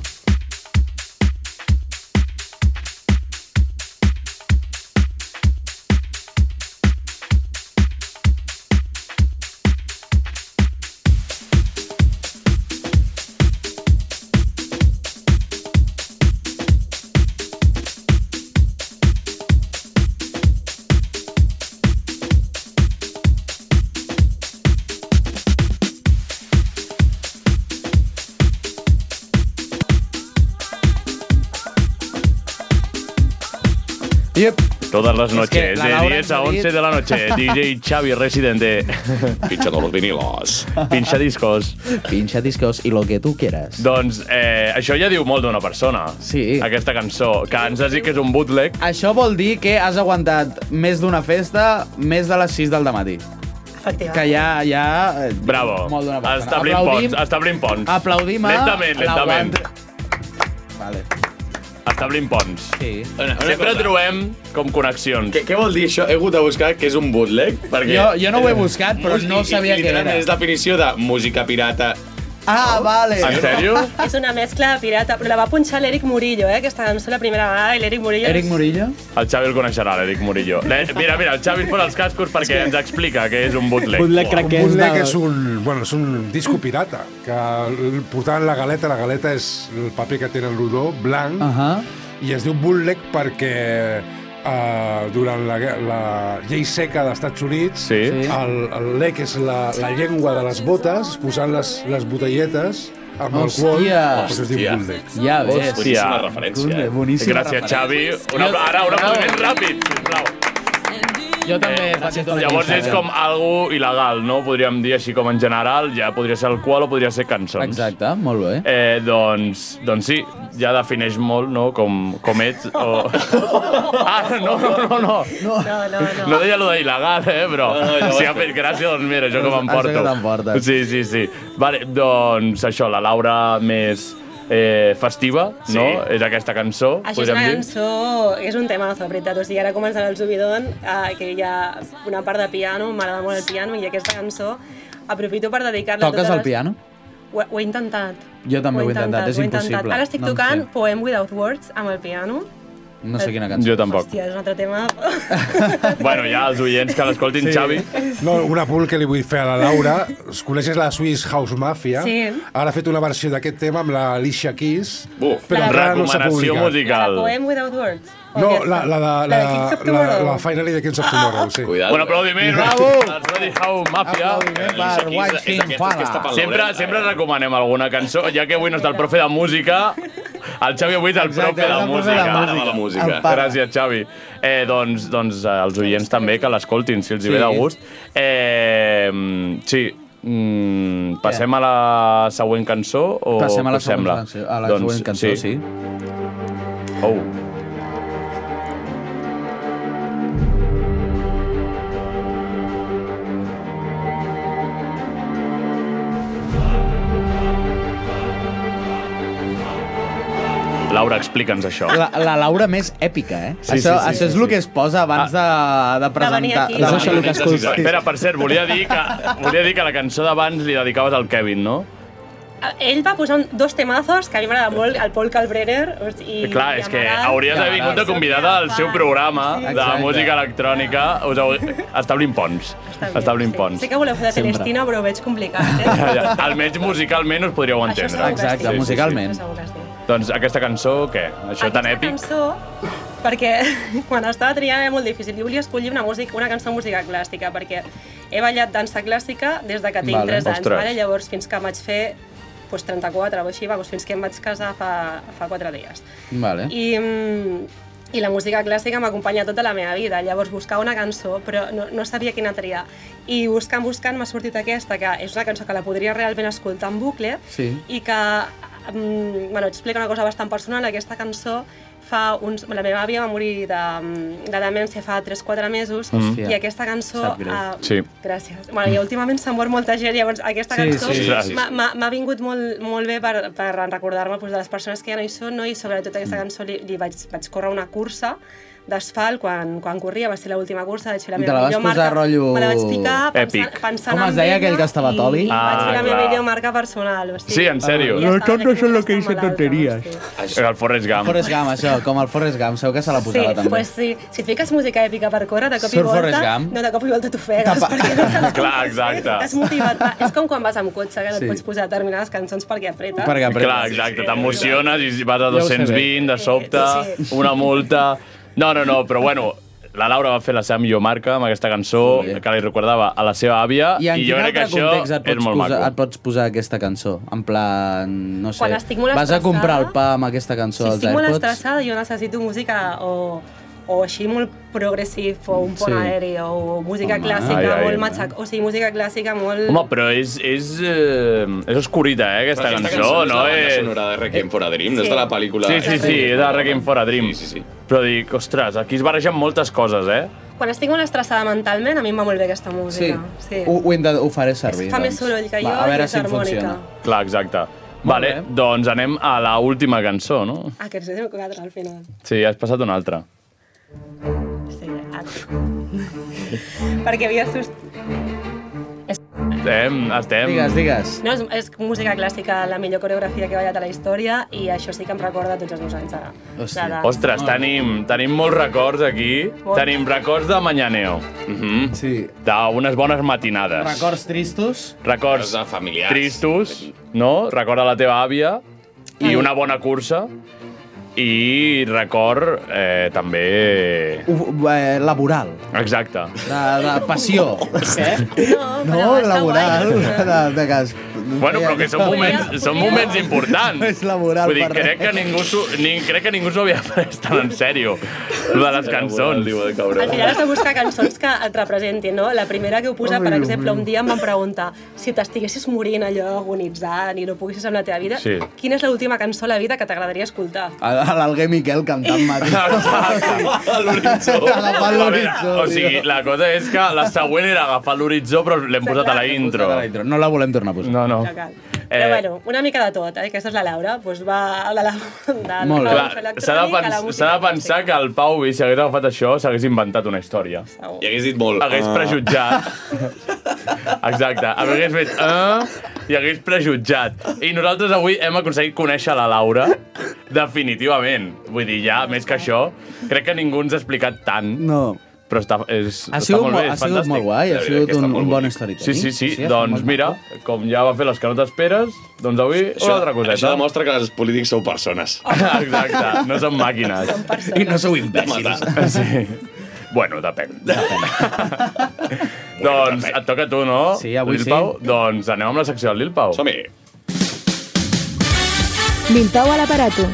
Speaker 10: Yep.
Speaker 2: Todas las
Speaker 15: Es
Speaker 2: noches,
Speaker 15: que la
Speaker 2: de
Speaker 15: Laura
Speaker 2: 10 a
Speaker 15: ens ha
Speaker 2: 11 de la noche, DJ Xavi Residente. Pincha todos los vinilos. Pincha discos.
Speaker 10: Pinxa discos i lo que tu quieras.
Speaker 2: Doncs eh, això ja diu molt d'una persona, sí. aquesta cançó, que ens has dit que és un bootleg.
Speaker 10: Això vol dir que has aguantat més d'una festa més de les 6 del matí.
Speaker 9: Efectivament.
Speaker 10: Que ja... ja eh, diu
Speaker 2: Bravo.
Speaker 10: Molt d'una persona.
Speaker 2: Establim ponts, establim ponts.
Speaker 10: Aplaudim a...
Speaker 2: Lentament, lentament.
Speaker 10: Vale.
Speaker 2: Establim ponts.
Speaker 10: Sí.
Speaker 15: Una,
Speaker 2: Sempre
Speaker 15: cosa.
Speaker 2: trobem com connexions.
Speaker 15: Què, què vol dir això? He hagut de buscar què és un bootleg? Perquè
Speaker 10: Jo- jo no ho he buscat, però no sabia què
Speaker 15: literalment
Speaker 10: era.
Speaker 15: És definició de música pirata.
Speaker 10: Ah, vale.
Speaker 15: En sèrio?
Speaker 9: És una mescla de pirata, però la va punxar l'Eric Murillo, eh, aquesta cançó la primera vegada, i l'Eric Murillo... és-
Speaker 10: Murillo?
Speaker 2: El Xavi el coneixerà, l'Eric Murillo. Le- Mira, mira, el Xavi es posa els cascos perquè ens explica què és un bootleg.
Speaker 1: un bootleg és un, bueno, és un disco pirata, que el- portaven la galeta, la galeta és el paper que tenen rodó, blanc, uh -huh. i es diu bootleg perquè Uh, durant la, gue- la llei seca dels Estats Units sí. el, el lec és la, la llengua de les botes posant les, les botelletes amb alcohol
Speaker 10: Hòstia.
Speaker 1: per això es diu
Speaker 10: Hòstia.
Speaker 1: bootleg
Speaker 10: Ja ves. Boníssima referència. eh. Bootleg, boníssima
Speaker 2: eh. Gràcies,
Speaker 10: referència.
Speaker 2: Xavi. Una, ara, un
Speaker 10: Bravo.
Speaker 2: aplaudiment ràpid, sisplau.
Speaker 10: Jo també eh, faig tot
Speaker 2: Llavors és com algo il·legal, no? Podríem dir així com en general, ja podria ser alcohol o podria ser cançons.
Speaker 10: Exacte, molt bé.
Speaker 2: Eh, doncs, doncs sí, ja defineix molt, no?, com, com ets o... Ah, no, no, no, no.
Speaker 9: No, no, no.
Speaker 2: No deia lo de il·legal, eh, però
Speaker 15: No, no,
Speaker 2: si ha fet gràcia, doncs mira, jo que
Speaker 10: Això
Speaker 2: m'emporto.
Speaker 10: que t'emportes.
Speaker 2: Sí, sí, sí. Vale, doncs això, la Laura més eh, festiva,
Speaker 9: Sí.
Speaker 2: no?, és aquesta cançó,
Speaker 9: Això és
Speaker 2: podríem
Speaker 9: una
Speaker 2: dir.
Speaker 9: cançó, és un temazo, de veritat. O sigui, ara començarà el subidon, eh, que hi ha una part de piano, m'agrada molt el piano, i aquesta cançó aprofito per dedicar-la a
Speaker 10: Toques
Speaker 9: totes
Speaker 10: el
Speaker 9: les-
Speaker 10: piano?
Speaker 9: Ho, he- ho he intentat.
Speaker 10: Jo també ho he intentat, és
Speaker 9: ho he intentat.
Speaker 10: impossible.
Speaker 9: Ara estic
Speaker 10: No en
Speaker 9: tocant Poem Without Words amb el piano.
Speaker 10: No sé quina cançó.
Speaker 2: Jo tampoc.
Speaker 9: Hòstia, és un altre tema.
Speaker 2: Bueno, ja els oients que l'escoltin, sí. Xavi.
Speaker 1: No, un apunt que li vull fer a la Laura. Es coneixes la Swiss House Mafia?
Speaker 9: Sí.
Speaker 1: Ara ha fet una versió d'aquest tema amb la Alicia Keys,
Speaker 2: Buf,
Speaker 1: però encara no s'ha
Speaker 2: recomanació
Speaker 1: publicat.
Speaker 2: musical.
Speaker 9: Poem Without Words.
Speaker 1: No, la, la, la, la,
Speaker 9: La de Kings of
Speaker 1: la,
Speaker 9: Tomorrow.
Speaker 1: la Finally de Kings of Tomorrow, sí.
Speaker 2: Un aplaudiment, bravo! Els Ready How Mafia.
Speaker 1: Aplaudiment per
Speaker 2: Aquí és-
Speaker 1: White
Speaker 2: és
Speaker 1: King
Speaker 2: aquesta
Speaker 1: Pala.
Speaker 2: que està pel Sempre, sempre recomanem alguna cançó, ja que avui no està el profe de música, El Xavi avui és el
Speaker 8: Exacte,
Speaker 2: profe de
Speaker 8: és
Speaker 2: la
Speaker 8: el profe de
Speaker 2: música.
Speaker 8: la música.
Speaker 2: Mare de la
Speaker 8: El pare.
Speaker 2: Gràcies, Xavi. Eh, doncs, doncs eh, els oients també que l'escoltin, si els
Speaker 8: Sí.
Speaker 2: hi ve de gust. Eh, sí, Mm, passem a la següent cançó? O
Speaker 8: Passem a la
Speaker 2: què us
Speaker 8: següent
Speaker 2: sembla? Doncs,
Speaker 8: cançó- a la següent cançó, sí.
Speaker 2: Oh. Laura, explica'ns això.
Speaker 8: La, la Laura més èpica, eh?
Speaker 2: Sí,
Speaker 8: Sí, això,
Speaker 2: sí, sí,
Speaker 8: això és
Speaker 2: sí,
Speaker 8: el que es posa abans de, de presentar.
Speaker 2: Ah, Espera, per cert, volia dir que, volia dir que la cançó d'abans li dedicaves al Kevin, no?
Speaker 9: Ell va posar un, dos temazos que a mi m'agrada molt, el Paul Kalbrenner o sigui, i...
Speaker 2: Eh, Clar, és que hauries d'haver vingut de convidada al seu programa de
Speaker 9: Exacte.
Speaker 2: música electrònica. Us heu... Establim ponts. Establim ponts.
Speaker 9: Sé que voleu fer de
Speaker 2: Sempre.
Speaker 9: Celestina, però ho veig complicat, eh?
Speaker 2: Ja, ja. Almenys musicalment us podríeu
Speaker 9: Això
Speaker 2: entendre.
Speaker 9: segur que sí.
Speaker 2: Sí,
Speaker 9: Segur que sí.
Speaker 2: sí. Doncs aquesta cançó, què? Això tan èpic?
Speaker 9: cançó perquè quan estava triant era molt difícil. Jo volia escollir una, música, una cançó de música clàssica perquè he ballat dansa clàssica des de que tinc
Speaker 2: Vale.
Speaker 9: 3 anys.
Speaker 2: Ostres.
Speaker 9: Vale? Llavors, fins que em vaig fer doncs, 34 o així, vamos, fins que em vaig casar fa, fa 4 dies.
Speaker 8: Vale.
Speaker 9: I, mm, I la música clàssica m'ha acompanyat tota la meva vida. Llavors buscava una cançó, però no, no sabia quina triar. I buscant, buscant, m'ha sortit aquesta, que és una cançó que la podria realment escoltar en bucle,
Speaker 8: Sí.
Speaker 9: i que, mm, bueno, explica una cosa bastant personal, aquesta cançó fa uns... La meva àvia va morir de, mm, de demència fa 3-4 mesos
Speaker 2: Mm. Hòstia.
Speaker 9: i aquesta cançó...
Speaker 2: Sap greu.
Speaker 9: ah,
Speaker 2: Sí.
Speaker 9: Gràcies. Bueno, I últimament se'n mor molta gent, llavors aquesta
Speaker 2: Sí,
Speaker 9: cançó
Speaker 2: sí, sí.
Speaker 9: m'ha- m'ha m'ha vingut molt, molt bé per, per recordar-me doncs, de les persones que ja no hi són no? i sobretot aquesta
Speaker 8: Mm.
Speaker 9: cançó li, li vaig, vaig córrer una cursa d'asfalt quan, quan corria, va ser l'última cursa, vaig fer la
Speaker 8: I
Speaker 9: meva
Speaker 8: te la vas
Speaker 9: millor
Speaker 8: posar
Speaker 9: marca,
Speaker 8: rotllo
Speaker 9: me la vaig ficar pensant,
Speaker 8: èpic.
Speaker 9: pensant
Speaker 8: Com es
Speaker 9: en
Speaker 8: deia
Speaker 9: ella
Speaker 8: aquell que estava
Speaker 9: i-
Speaker 8: Toli?
Speaker 9: i
Speaker 8: Ah,
Speaker 9: vaig fer la meva
Speaker 8: clar.
Speaker 9: millor marca personal. O sigui,
Speaker 2: Sí, en sèrio.
Speaker 9: ja estava
Speaker 2: cantos són los que dicen tonteries. El Forrest Gump.
Speaker 8: Forrest Gump, això, com el Forrest Gump, segur que se la posava
Speaker 9: sí,
Speaker 8: també.
Speaker 9: Pues sí, si et fiques música èpica per córrer, de cop
Speaker 8: Surt
Speaker 9: i volta,
Speaker 8: Forrest Gump.
Speaker 9: no, de cop i volta t'ofegues, perquè no saps
Speaker 2: Clar, exacte.
Speaker 9: t'has motivat. Va, És com quan vas amb cotxe, que no
Speaker 2: Sí.
Speaker 9: et pots posar determinades cançons perquè
Speaker 8: Eh?
Speaker 9: apreta.
Speaker 2: Clar, exacte, t'emociones i vas a
Speaker 8: Ja ho sé
Speaker 2: 220, de sobte,
Speaker 9: Sí, sí.
Speaker 2: una multa... No, no, no, però bueno, la Laura va fer la seva millor marca amb aquesta cançó que li recordava a la seva àvia i,
Speaker 8: I en
Speaker 2: jo
Speaker 8: quin
Speaker 2: crec que
Speaker 8: altre
Speaker 2: això
Speaker 8: context et
Speaker 2: és
Speaker 8: pots,
Speaker 2: molt
Speaker 8: posar,
Speaker 2: maco.
Speaker 8: et pots posar aquesta cançó? En plan, no sé,
Speaker 9: Quan estic molt
Speaker 8: vas a
Speaker 9: estressada-
Speaker 8: comprar el pa amb aquesta cançó
Speaker 9: Si
Speaker 8: dels
Speaker 9: estic molt
Speaker 8: AirPods?
Speaker 9: estressada, jo necessito música o, o així molt progressiu, o un
Speaker 2: Sí.
Speaker 9: pon aeri, o música
Speaker 2: Home.
Speaker 9: clàssica,
Speaker 2: Ai, ai,
Speaker 9: molt
Speaker 2: ai.
Speaker 9: matxac... O sigui, música clàssica molt...
Speaker 2: Home, però és, és, eh, és oscurita, eh, aquesta,
Speaker 10: Però aquesta
Speaker 2: cançó,
Speaker 10: cançó és
Speaker 2: no?
Speaker 10: de la banda
Speaker 2: és...
Speaker 10: sonora de Requiem for a Dream, no és de la pel·lícula-
Speaker 2: Sí, sí, sí, és de Requiem for a Dream.
Speaker 10: Sí, sí, sí.
Speaker 2: Però dic, ostres, aquí es barregen moltes coses, eh?
Speaker 9: Quan estic molt estressada mentalment, a mi em va molt bé aquesta música. Sí.
Speaker 8: Ho, ho, hem de, ho faré servir. doncs.
Speaker 9: Fa més soroll que jo
Speaker 8: Va, a veure
Speaker 9: i és
Speaker 8: si em
Speaker 9: harmònica.
Speaker 8: funciona.
Speaker 2: Clar, exacte. Vale, doncs anem a la última cançó, no?
Speaker 9: Ah, que ens hem quedat al final.
Speaker 2: Sí, has passat una altra.
Speaker 9: Perquè havia sust...
Speaker 2: Estem, estem...
Speaker 8: Digues, digues.
Speaker 9: No, és, és música clàssica, la millor coreografia que he ballat a la història i això sí que em recorda tots els meus anys ara.
Speaker 2: Hòstia.
Speaker 9: Ara-
Speaker 2: Ostres, tenim, tenim molts records aquí.
Speaker 9: Molts.
Speaker 2: Tenim records de Mañaneo. Mm -hmm.
Speaker 8: Sí.
Speaker 2: D'unes bones matinades.
Speaker 8: Records tristos.
Speaker 2: Records de familiars. tristos, no? Record a la teva àvia i una bona cursa. I record eh, també...
Speaker 8: Ho- eh, laboral.
Speaker 2: Exacte.
Speaker 8: De, de passió.
Speaker 9: No,
Speaker 8: no laboral. De, de que es,
Speaker 2: Bueno, però que són moments, són moments importants.
Speaker 8: És laboral
Speaker 2: Vull dir,
Speaker 8: per
Speaker 2: crec que ningú s'ho ni, crec que ningú s'ho havia pres tan en sèrio, lo de les cançons.
Speaker 9: Al final has de buscar cançons que et representin, no? La primera que ho posa, per
Speaker 2: Ai, Déu
Speaker 9: exemple,
Speaker 2: meu.
Speaker 9: un dia em van preguntar si t'estiguessis morint allò agonitzant i no poguessis amb la teva vida,
Speaker 8: Sí.
Speaker 9: quina és l'última cançó a la vida que t'agradaria escoltar?
Speaker 8: A l'Alguer Miquel cantant matí.
Speaker 2: l'horitzó.
Speaker 8: Agafant l'horitzó,
Speaker 2: O sigui, la cosa és que la següent era agafar l'horitzó, però l'hem posat a la intro.
Speaker 8: No la volem tornar a posar.
Speaker 2: No, no.
Speaker 9: No cal.
Speaker 2: Eh.
Speaker 9: Però bueno, una mica de tot, eh? Aquesta és la Laura, doncs va de la, de, de
Speaker 2: Molt
Speaker 9: la
Speaker 2: bé.
Speaker 9: música
Speaker 2: S'ha de,
Speaker 9: electrònica a la
Speaker 2: pens
Speaker 9: música
Speaker 2: s'ha de pensar que el Pau, si hagués agafat això, s'hagués inventat una història.
Speaker 10: I hagués dit molt...
Speaker 2: Hagués
Speaker 10: "Ah".
Speaker 2: prejutjat. Exacte. Hagués fet... Eh? I hagués prejutjat. I nosaltres avui hem aconseguit conèixer la Laura definitivament. Vull dir, ja, més que això, crec que ningú ens ha explicat tant.
Speaker 8: No.
Speaker 2: Però està, és,
Speaker 8: Ha
Speaker 2: està
Speaker 8: sigut,
Speaker 2: molt
Speaker 8: molt,
Speaker 2: bé,
Speaker 8: ha
Speaker 2: és
Speaker 8: sigut
Speaker 2: fantàstic.
Speaker 8: molt guai, ha sigut un, un bon
Speaker 2: Sí,
Speaker 8: storytelling.
Speaker 2: sí, sí.
Speaker 8: ha
Speaker 2: sí
Speaker 8: estat
Speaker 2: doncs
Speaker 8: molt
Speaker 2: mira, com ja va fer les que no t'esperes, doncs avui
Speaker 10: Això-
Speaker 2: una altra coseta.
Speaker 10: Això demostra que els polítics sou persones.
Speaker 2: Exacte, no són màquines.
Speaker 8: I no sou imbècils.
Speaker 2: Sí. Bueno, depèn. doncs et toca a tu, no? Sí,
Speaker 8: avui
Speaker 2: Lil
Speaker 8: sí.
Speaker 2: Pau? Doncs anem amb la secció del Lil Pau. Som-hi.
Speaker 16: Lil Pau a l'aparato,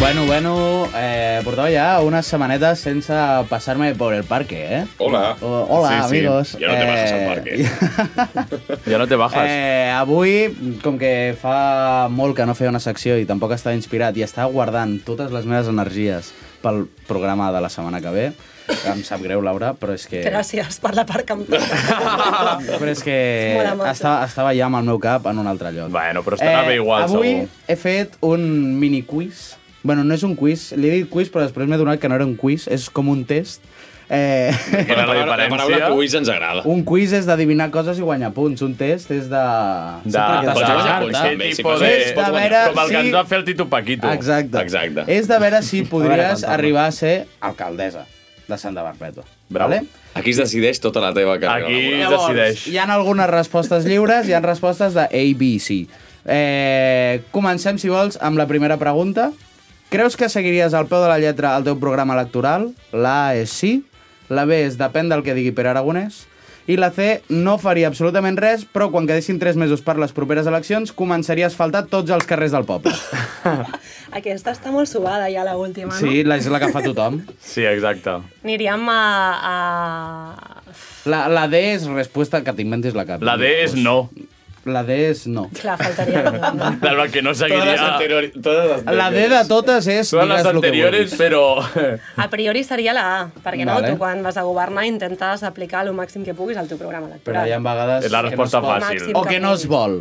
Speaker 8: Bueno, bueno, eh, portava ja unes setmanetes sense passar-me per el parque, eh?
Speaker 10: Hola.
Speaker 8: O, hola,
Speaker 10: Sí, sí.
Speaker 8: amigos.
Speaker 10: Ja no te bajas al
Speaker 2: Ja no te bajas.
Speaker 8: Eh, avui, com que fa molt que no feia una secció i tampoc estava inspirat i estava guardant totes les meves energies pel programa de la setmana que ve, em sap greu, Laura, però és que...
Speaker 9: Gràcies per la part que em
Speaker 8: Però és que
Speaker 9: Mola molt.
Speaker 8: estava, estava ja amb el meu cap en un altre lloc. Eh,
Speaker 2: Bueno, però estarà bé igual,
Speaker 8: avui
Speaker 2: segur.
Speaker 8: he fet un mini quiz. Bueno, no és un quiz, li he dit quiz, però després m'he adonat que no era un quiz, és com un test. Eh...
Speaker 10: la, paraula, la paraula quiz ens agrada.
Speaker 8: Un quiz és d'adivinar coses i guanyar punts. Un test és de...
Speaker 2: De,
Speaker 8: Sempre
Speaker 2: de,
Speaker 8: queda
Speaker 2: de,
Speaker 8: descartar.
Speaker 2: de, de,
Speaker 8: pots-
Speaker 2: de,
Speaker 8: Ves de veure
Speaker 2: com el que
Speaker 8: si-
Speaker 2: ens va fer el Tito Paquito.
Speaker 8: Exacte. Eh,
Speaker 2: Exacte.
Speaker 8: És de veure
Speaker 10: A
Speaker 8: si
Speaker 10: veure
Speaker 8: podries
Speaker 10: quanta-
Speaker 8: arribar a ser alcaldessa de Santa Barbeta.
Speaker 10: Bravo.
Speaker 8: Vale?
Speaker 10: Aquí es decideix tota la teva carrera laboral.
Speaker 8: hi han algunes respostes lliures, hi han respostes de A, B, C. Eh, comencem, si vols, amb la primera pregunta. Creus que seguiries al peu de la lletra el teu programa electoral? La A és sí, la B és depèn del que digui Pere Aragonès, i la C no faria absolutament res, però quan quedessin 3 mesos per les properes eleccions començaria a asfaltar tots els carrers del poble.
Speaker 9: Aquesta està molt suada ja, l'última, no?
Speaker 8: Sí, la- és la que fa tothom.
Speaker 2: Sí, exacte.
Speaker 9: Aniríem a... a...
Speaker 8: La, la D és resposta que t'inventis la cap.
Speaker 2: La D és no.
Speaker 8: La D és no.
Speaker 9: Clar, faltaria...
Speaker 2: Del que no
Speaker 10: Totes les
Speaker 2: seguiria...
Speaker 10: anteriores... Totes les
Speaker 8: La D de totes és...
Speaker 2: Totes les
Speaker 8: digues lo que
Speaker 2: anteriores,
Speaker 8: vulguis.
Speaker 2: però...
Speaker 9: A priori seria la A, perquè no,
Speaker 8: Vale.
Speaker 9: tu quan vas a governar intentes aplicar el màxim que puguis al teu programa
Speaker 8: Però
Speaker 9: electoral.
Speaker 8: hi ha vegades...
Speaker 2: És la
Speaker 8: que
Speaker 2: resposta
Speaker 8: es pot.
Speaker 2: fàcil. Màxim
Speaker 8: O
Speaker 9: que
Speaker 8: que no es vol.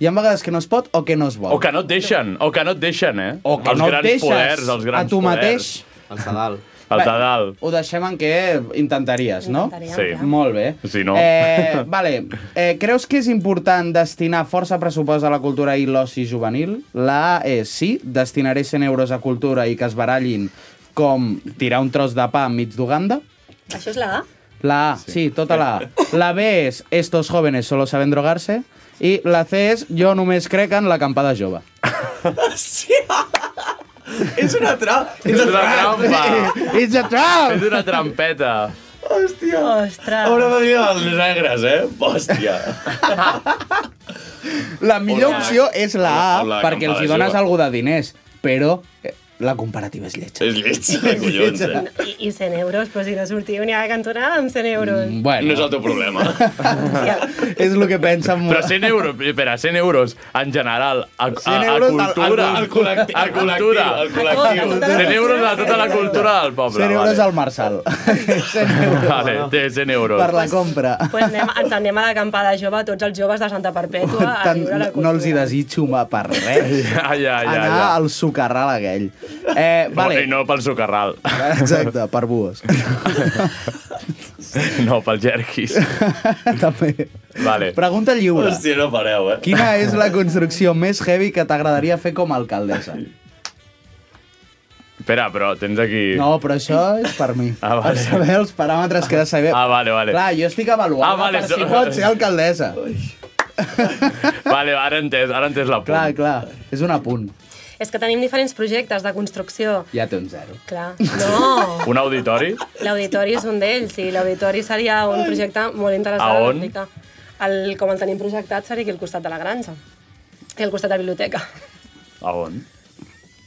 Speaker 8: Hi ha vegades que no es pot o que no es vol.
Speaker 2: O que no et deixen, o que no et deixen, eh? O
Speaker 8: que
Speaker 2: els
Speaker 8: no et
Speaker 2: grans
Speaker 8: deixes
Speaker 2: poders, els grans
Speaker 8: a tu mateix.
Speaker 2: Poders. Els de dalt. Els de dalt.
Speaker 8: Ho deixem en què intentaries, no?
Speaker 2: Sí. ja.
Speaker 8: Molt bé.
Speaker 2: Si no...
Speaker 8: Eh, vale. Eh, creus que és important destinar força pressupost a la cultura i l'oci juvenil? La A és sí, destinaré 100 euros a cultura i que es barallin com tirar un tros de pa enmig d'Uganda.
Speaker 9: Això és la A?
Speaker 8: La A, sí. tota la A. La B és estos jóvenes solo saben drogarse. I la C és jo només crec en l'acampada jove.
Speaker 12: És una trampa.
Speaker 2: És una trampa.
Speaker 8: It's a trap!
Speaker 2: És una trampeta.
Speaker 12: Hòstia.
Speaker 9: Ostres.
Speaker 10: Haurà de dir els negres, eh? Hòstia.
Speaker 8: La millor
Speaker 10: Hola.
Speaker 8: opció és la A,
Speaker 10: Hola,
Speaker 8: perquè els hi
Speaker 10: acampada
Speaker 8: dones
Speaker 10: jove.
Speaker 8: algú de diners, però eh, la comparativa és lletja.
Speaker 10: És lletja, collons, eh?
Speaker 9: I, I 100 euros, però si no sortiu ni a la cantonada amb 100 euros. Mm.
Speaker 8: Bueno.
Speaker 10: No és el teu problema.
Speaker 8: és el que pensa molt.
Speaker 2: Però 100 euros, espera, 100 euros en general, a, a,
Speaker 8: 100
Speaker 2: a
Speaker 8: euros al-
Speaker 2: cultura,
Speaker 8: al- al
Speaker 10: col·lectiu,
Speaker 2: a
Speaker 10: al
Speaker 2: cultura,
Speaker 10: col·lectiu, al col·lectiu.
Speaker 2: 100 euros a tota la cultura del poble.
Speaker 8: 100 euros al Marçal.
Speaker 2: euros. Vale, té 100 euros.
Speaker 8: Per la compra.
Speaker 9: Pues anem, ens anem a l'acampada jove, tots els joves de Santa Perpètua, a
Speaker 8: Tant,
Speaker 9: viure la
Speaker 8: no els hi desitjo ma, per res.
Speaker 2: Ja, ja, ja.
Speaker 8: Anar
Speaker 2: ja.
Speaker 8: al socarral aquell. Eh, vale.
Speaker 2: No, I no pel socarral.
Speaker 8: Exacte, per bues.
Speaker 2: No, pel jerquis.
Speaker 8: També.
Speaker 2: Vale.
Speaker 8: Pregunta
Speaker 2: Oh,
Speaker 8: lliure.
Speaker 10: Hòstia, no pareu, eh?
Speaker 8: Quina és la construcció més heavy que t'agradaria fer com a alcaldessa?
Speaker 2: Espera, però tens aquí...
Speaker 8: No, però això és per mi.
Speaker 2: Ah, vale.
Speaker 8: Per saber els paràmetres que he de saber.
Speaker 2: Ah, vale, vale.
Speaker 8: Clar, jo estic avaluant
Speaker 2: Ah, vale,
Speaker 8: per
Speaker 2: so-
Speaker 8: si pot ser alcaldessa.
Speaker 2: Vale, ara he entès, ara he entès la punt.
Speaker 8: Clar, clar, és un apunt.
Speaker 9: És que tenim diferents projectes de construcció.
Speaker 8: Ja té un zero.
Speaker 9: Clar, no,
Speaker 2: Un auditori?
Speaker 9: l'auditori és un d'ells i l'auditori seria un projecte molt interessant.
Speaker 2: A on?
Speaker 9: d'aplicar. El, com el tenim projectat seria aquí al costat de la granja i al costat de la biblioteca.
Speaker 2: A on?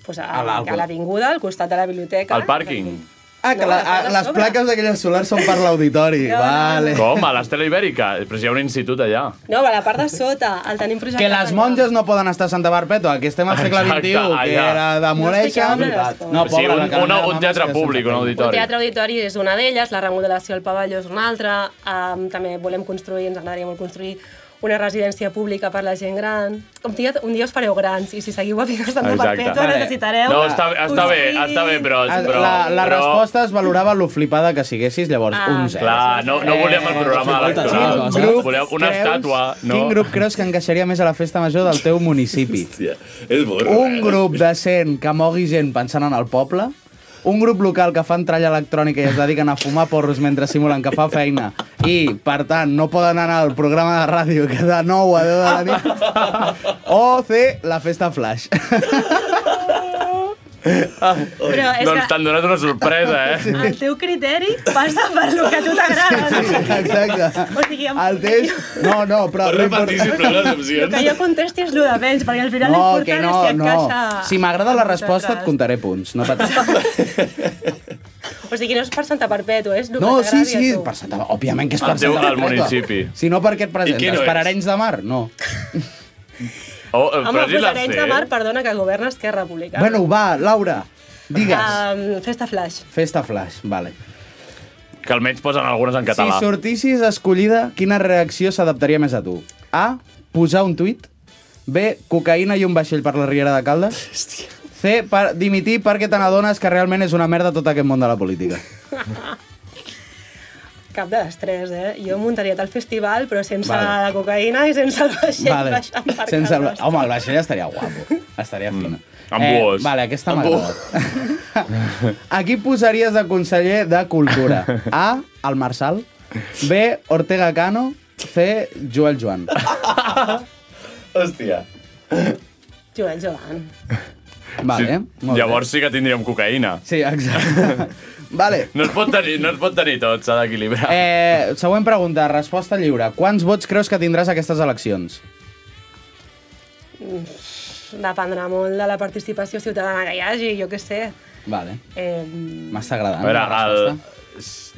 Speaker 9: Pues a,
Speaker 2: A
Speaker 9: a
Speaker 2: l'Alcor.
Speaker 9: l'avinguda, al costat de la biblioteca.
Speaker 2: Al pàrquing.
Speaker 8: Ah, que la, a, les plaques d'aquelles solars són per l'auditori. Vale.
Speaker 2: Com? A l'Estela Ibèrica? Però si hi ha un institut allà.
Speaker 9: No, a la part de sota, el tenim projectat.
Speaker 8: Que les monges no poden estar a Santa Barpètua, que estem al segle
Speaker 2: Exacte,
Speaker 8: XXI, que
Speaker 2: allà.
Speaker 8: era
Speaker 9: No
Speaker 8: demoleixen...
Speaker 9: expliqueu res, com.
Speaker 8: No,
Speaker 2: sí,
Speaker 8: pobra,
Speaker 2: un,
Speaker 8: la
Speaker 2: un,
Speaker 8: Carmela
Speaker 2: un, teatre
Speaker 8: Mames, que
Speaker 2: públic, un
Speaker 9: El
Speaker 2: auditori.
Speaker 9: teatre auditori és una d'elles, la remodelació al pavelló és una altra, um, també volem construir, ens agradaria molt construir una residència pública per la gent gran. Un dia, un dia us fareu grans i si seguiu a Figues de Perpètua
Speaker 2: Vale.
Speaker 9: necessitareu...
Speaker 2: No, està, està bé,
Speaker 9: construir.
Speaker 2: està bé, però...
Speaker 8: Ah,
Speaker 2: però
Speaker 8: la, la
Speaker 2: però...
Speaker 8: resposta es valorava lo flipada que siguessis, llavors
Speaker 9: Ah,
Speaker 8: un zero.
Speaker 2: Clar, no,
Speaker 8: Eh,
Speaker 2: no volem el programa electoral.
Speaker 8: Quin grup
Speaker 2: Volem una
Speaker 8: creus-
Speaker 2: estàtua, no?
Speaker 8: eh, Quin grup creus que encaixaria més a la festa major del teu municipi?
Speaker 10: Hòstia, és burro,
Speaker 8: Un grup de 100 que mogui gent pensant en el poble, un grup local que fan tralla electrònica i es dediquen a fumar porros mentre simulen que fa feina i, per tant, no poden anar al programa de ràdio que de 9 a 10 de la nit, o C, la festa flash.
Speaker 2: Ah,
Speaker 9: Però és
Speaker 2: doncs
Speaker 9: que-
Speaker 2: t'han donat una sorpresa, eh?
Speaker 9: El teu criteri passa per lo que a tu t'agrada.
Speaker 8: Sí, sí, exacte.
Speaker 9: O sigui, em-
Speaker 8: El test... No, no, però...
Speaker 10: Pot repetir, sisplau, les
Speaker 9: el que jo contesti és el de menys, perquè al final
Speaker 8: No, que
Speaker 9: l'important
Speaker 8: no,
Speaker 9: és si et
Speaker 8: no.
Speaker 9: caixa...
Speaker 8: Si m'agrada la
Speaker 9: amb
Speaker 8: resposta, et
Speaker 9: vosaltres.
Speaker 8: contaré punts. No, patis.
Speaker 9: O sigui, no és per Santa Perpètua, és el
Speaker 8: no
Speaker 9: que
Speaker 8: sí,
Speaker 9: t'agradi
Speaker 8: sí,
Speaker 9: a tu.
Speaker 8: per Santa... Òbviament que és
Speaker 2: El
Speaker 8: per
Speaker 2: teu-
Speaker 8: Santa
Speaker 2: el municipi.
Speaker 8: Si no, per què et
Speaker 2: qui
Speaker 8: presentes?
Speaker 2: no
Speaker 8: per
Speaker 2: ets?
Speaker 8: Arenys de Mar? No.
Speaker 2: Oh, eh,
Speaker 9: Home,
Speaker 2: però si
Speaker 9: pues
Speaker 2: la
Speaker 9: Arenys
Speaker 2: sé.
Speaker 9: de Mar, perdona, que governa Esquerra Republicana.
Speaker 8: Bueno, va, Laura, digues.
Speaker 9: Um, festa flash.
Speaker 8: Festa Flash, vale.
Speaker 2: Que almenys posen algunes en
Speaker 8: Si
Speaker 2: català.
Speaker 8: sortissis escollida, quina reacció s'adaptaria més a tu? A. Posar un tuit. B. Cocaïna i un vaixell per la Riera de Caldes. C. Per dimitir perquè te n'adones que realment és una merda tot aquest món de la política.
Speaker 9: Cap de les tres, eh? Jo muntaria tal festival, però sense
Speaker 8: Vale.
Speaker 9: vale. la cocaïna i sense el vaixell
Speaker 8: Vale.
Speaker 9: vale. baixant per
Speaker 8: Sense el...
Speaker 9: Sense...
Speaker 8: Home, el vaixell estaria guapo. Estaria fina.
Speaker 2: Mm.
Speaker 8: Eh,
Speaker 2: Amb boes.
Speaker 8: Vale, aquesta
Speaker 2: Amb
Speaker 8: m'ha agradat. A qui posaries de conseller de Cultura? A. El Marçal. B. Ortega Cano. C. Joel Joan.
Speaker 10: Hòstia.
Speaker 9: Joel Joan.
Speaker 8: Vale, molt bé.
Speaker 2: Llavors sí que tindríem cocaïna.
Speaker 8: Sí, exacte. vale.
Speaker 2: No es pot tenir, no es pot tenir tot, s'ha d'equilibrar.
Speaker 8: Eh, següent pregunta, resposta lliure. Quants vots creus que tindràs a aquestes eleccions?
Speaker 9: Mm, Dependrà molt de la participació ciutadana que hi hagi, jo què sé.
Speaker 8: Vale.
Speaker 9: Eh,
Speaker 8: M'està agradant
Speaker 2: A veure,
Speaker 8: la resposta.
Speaker 2: el...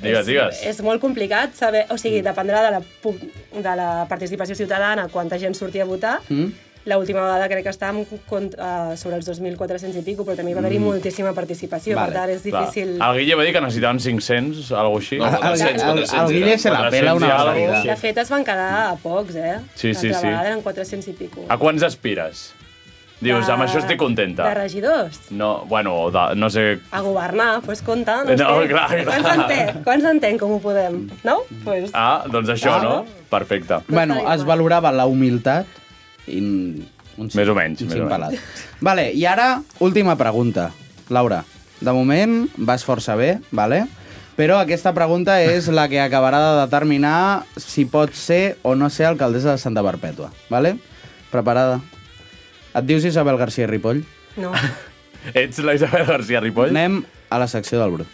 Speaker 2: Digues, digues. Mm.
Speaker 9: És molt complicat saber... O sigui, dependrà de la, pu- de la participació ciutadana, quanta gent surti a votar.
Speaker 8: Mm?
Speaker 9: L'última vegada crec que estàvem cont, uh, sobre els 2.400 i pico, però també hi va haver-hi
Speaker 2: Mm.
Speaker 9: moltíssima participació,
Speaker 2: Vale,
Speaker 9: per tant
Speaker 2: clar.
Speaker 9: és
Speaker 2: Ah.
Speaker 9: difícil...
Speaker 2: El Guille va dir que necessitaven 500, alguna cosa així.
Speaker 8: No, El- el- 400, el- el 400 Guille se la pela una barbaridad.
Speaker 9: De fet, es van quedar a pocs, eh?
Speaker 2: Mm. Sí, sí,
Speaker 9: L'altra
Speaker 2: sí.
Speaker 9: vegada eren 400 i pico.
Speaker 2: A quants aspires? Dius, amb això estic
Speaker 9: De
Speaker 2: contenta.
Speaker 9: regidors.
Speaker 2: No, bueno, o de, no sé...
Speaker 9: A governar, doncs pues, compte. No,
Speaker 2: No,
Speaker 9: sé.
Speaker 2: clar, clar.
Speaker 9: Quants en té? Quants en ten, com ho podem? No? Pues...
Speaker 2: Ah, doncs això,
Speaker 9: Ah.
Speaker 2: no? Perfecte.
Speaker 8: Bueno, es valorava la humilitat i un
Speaker 2: Més o menys. Més o
Speaker 8: cimpalat.
Speaker 2: menys.
Speaker 8: Vale, i ara, última pregunta. Laura, de moment vas força bé, vale? però aquesta pregunta és la que acabarà de determinar si pot ser o no ser alcaldessa de Santa Perpètua. Vale? Preparada? Et dius Isabel García Ripoll?
Speaker 9: No.
Speaker 2: Ets la Isabel García Ripoll?
Speaker 8: Anem a la secció del Brut.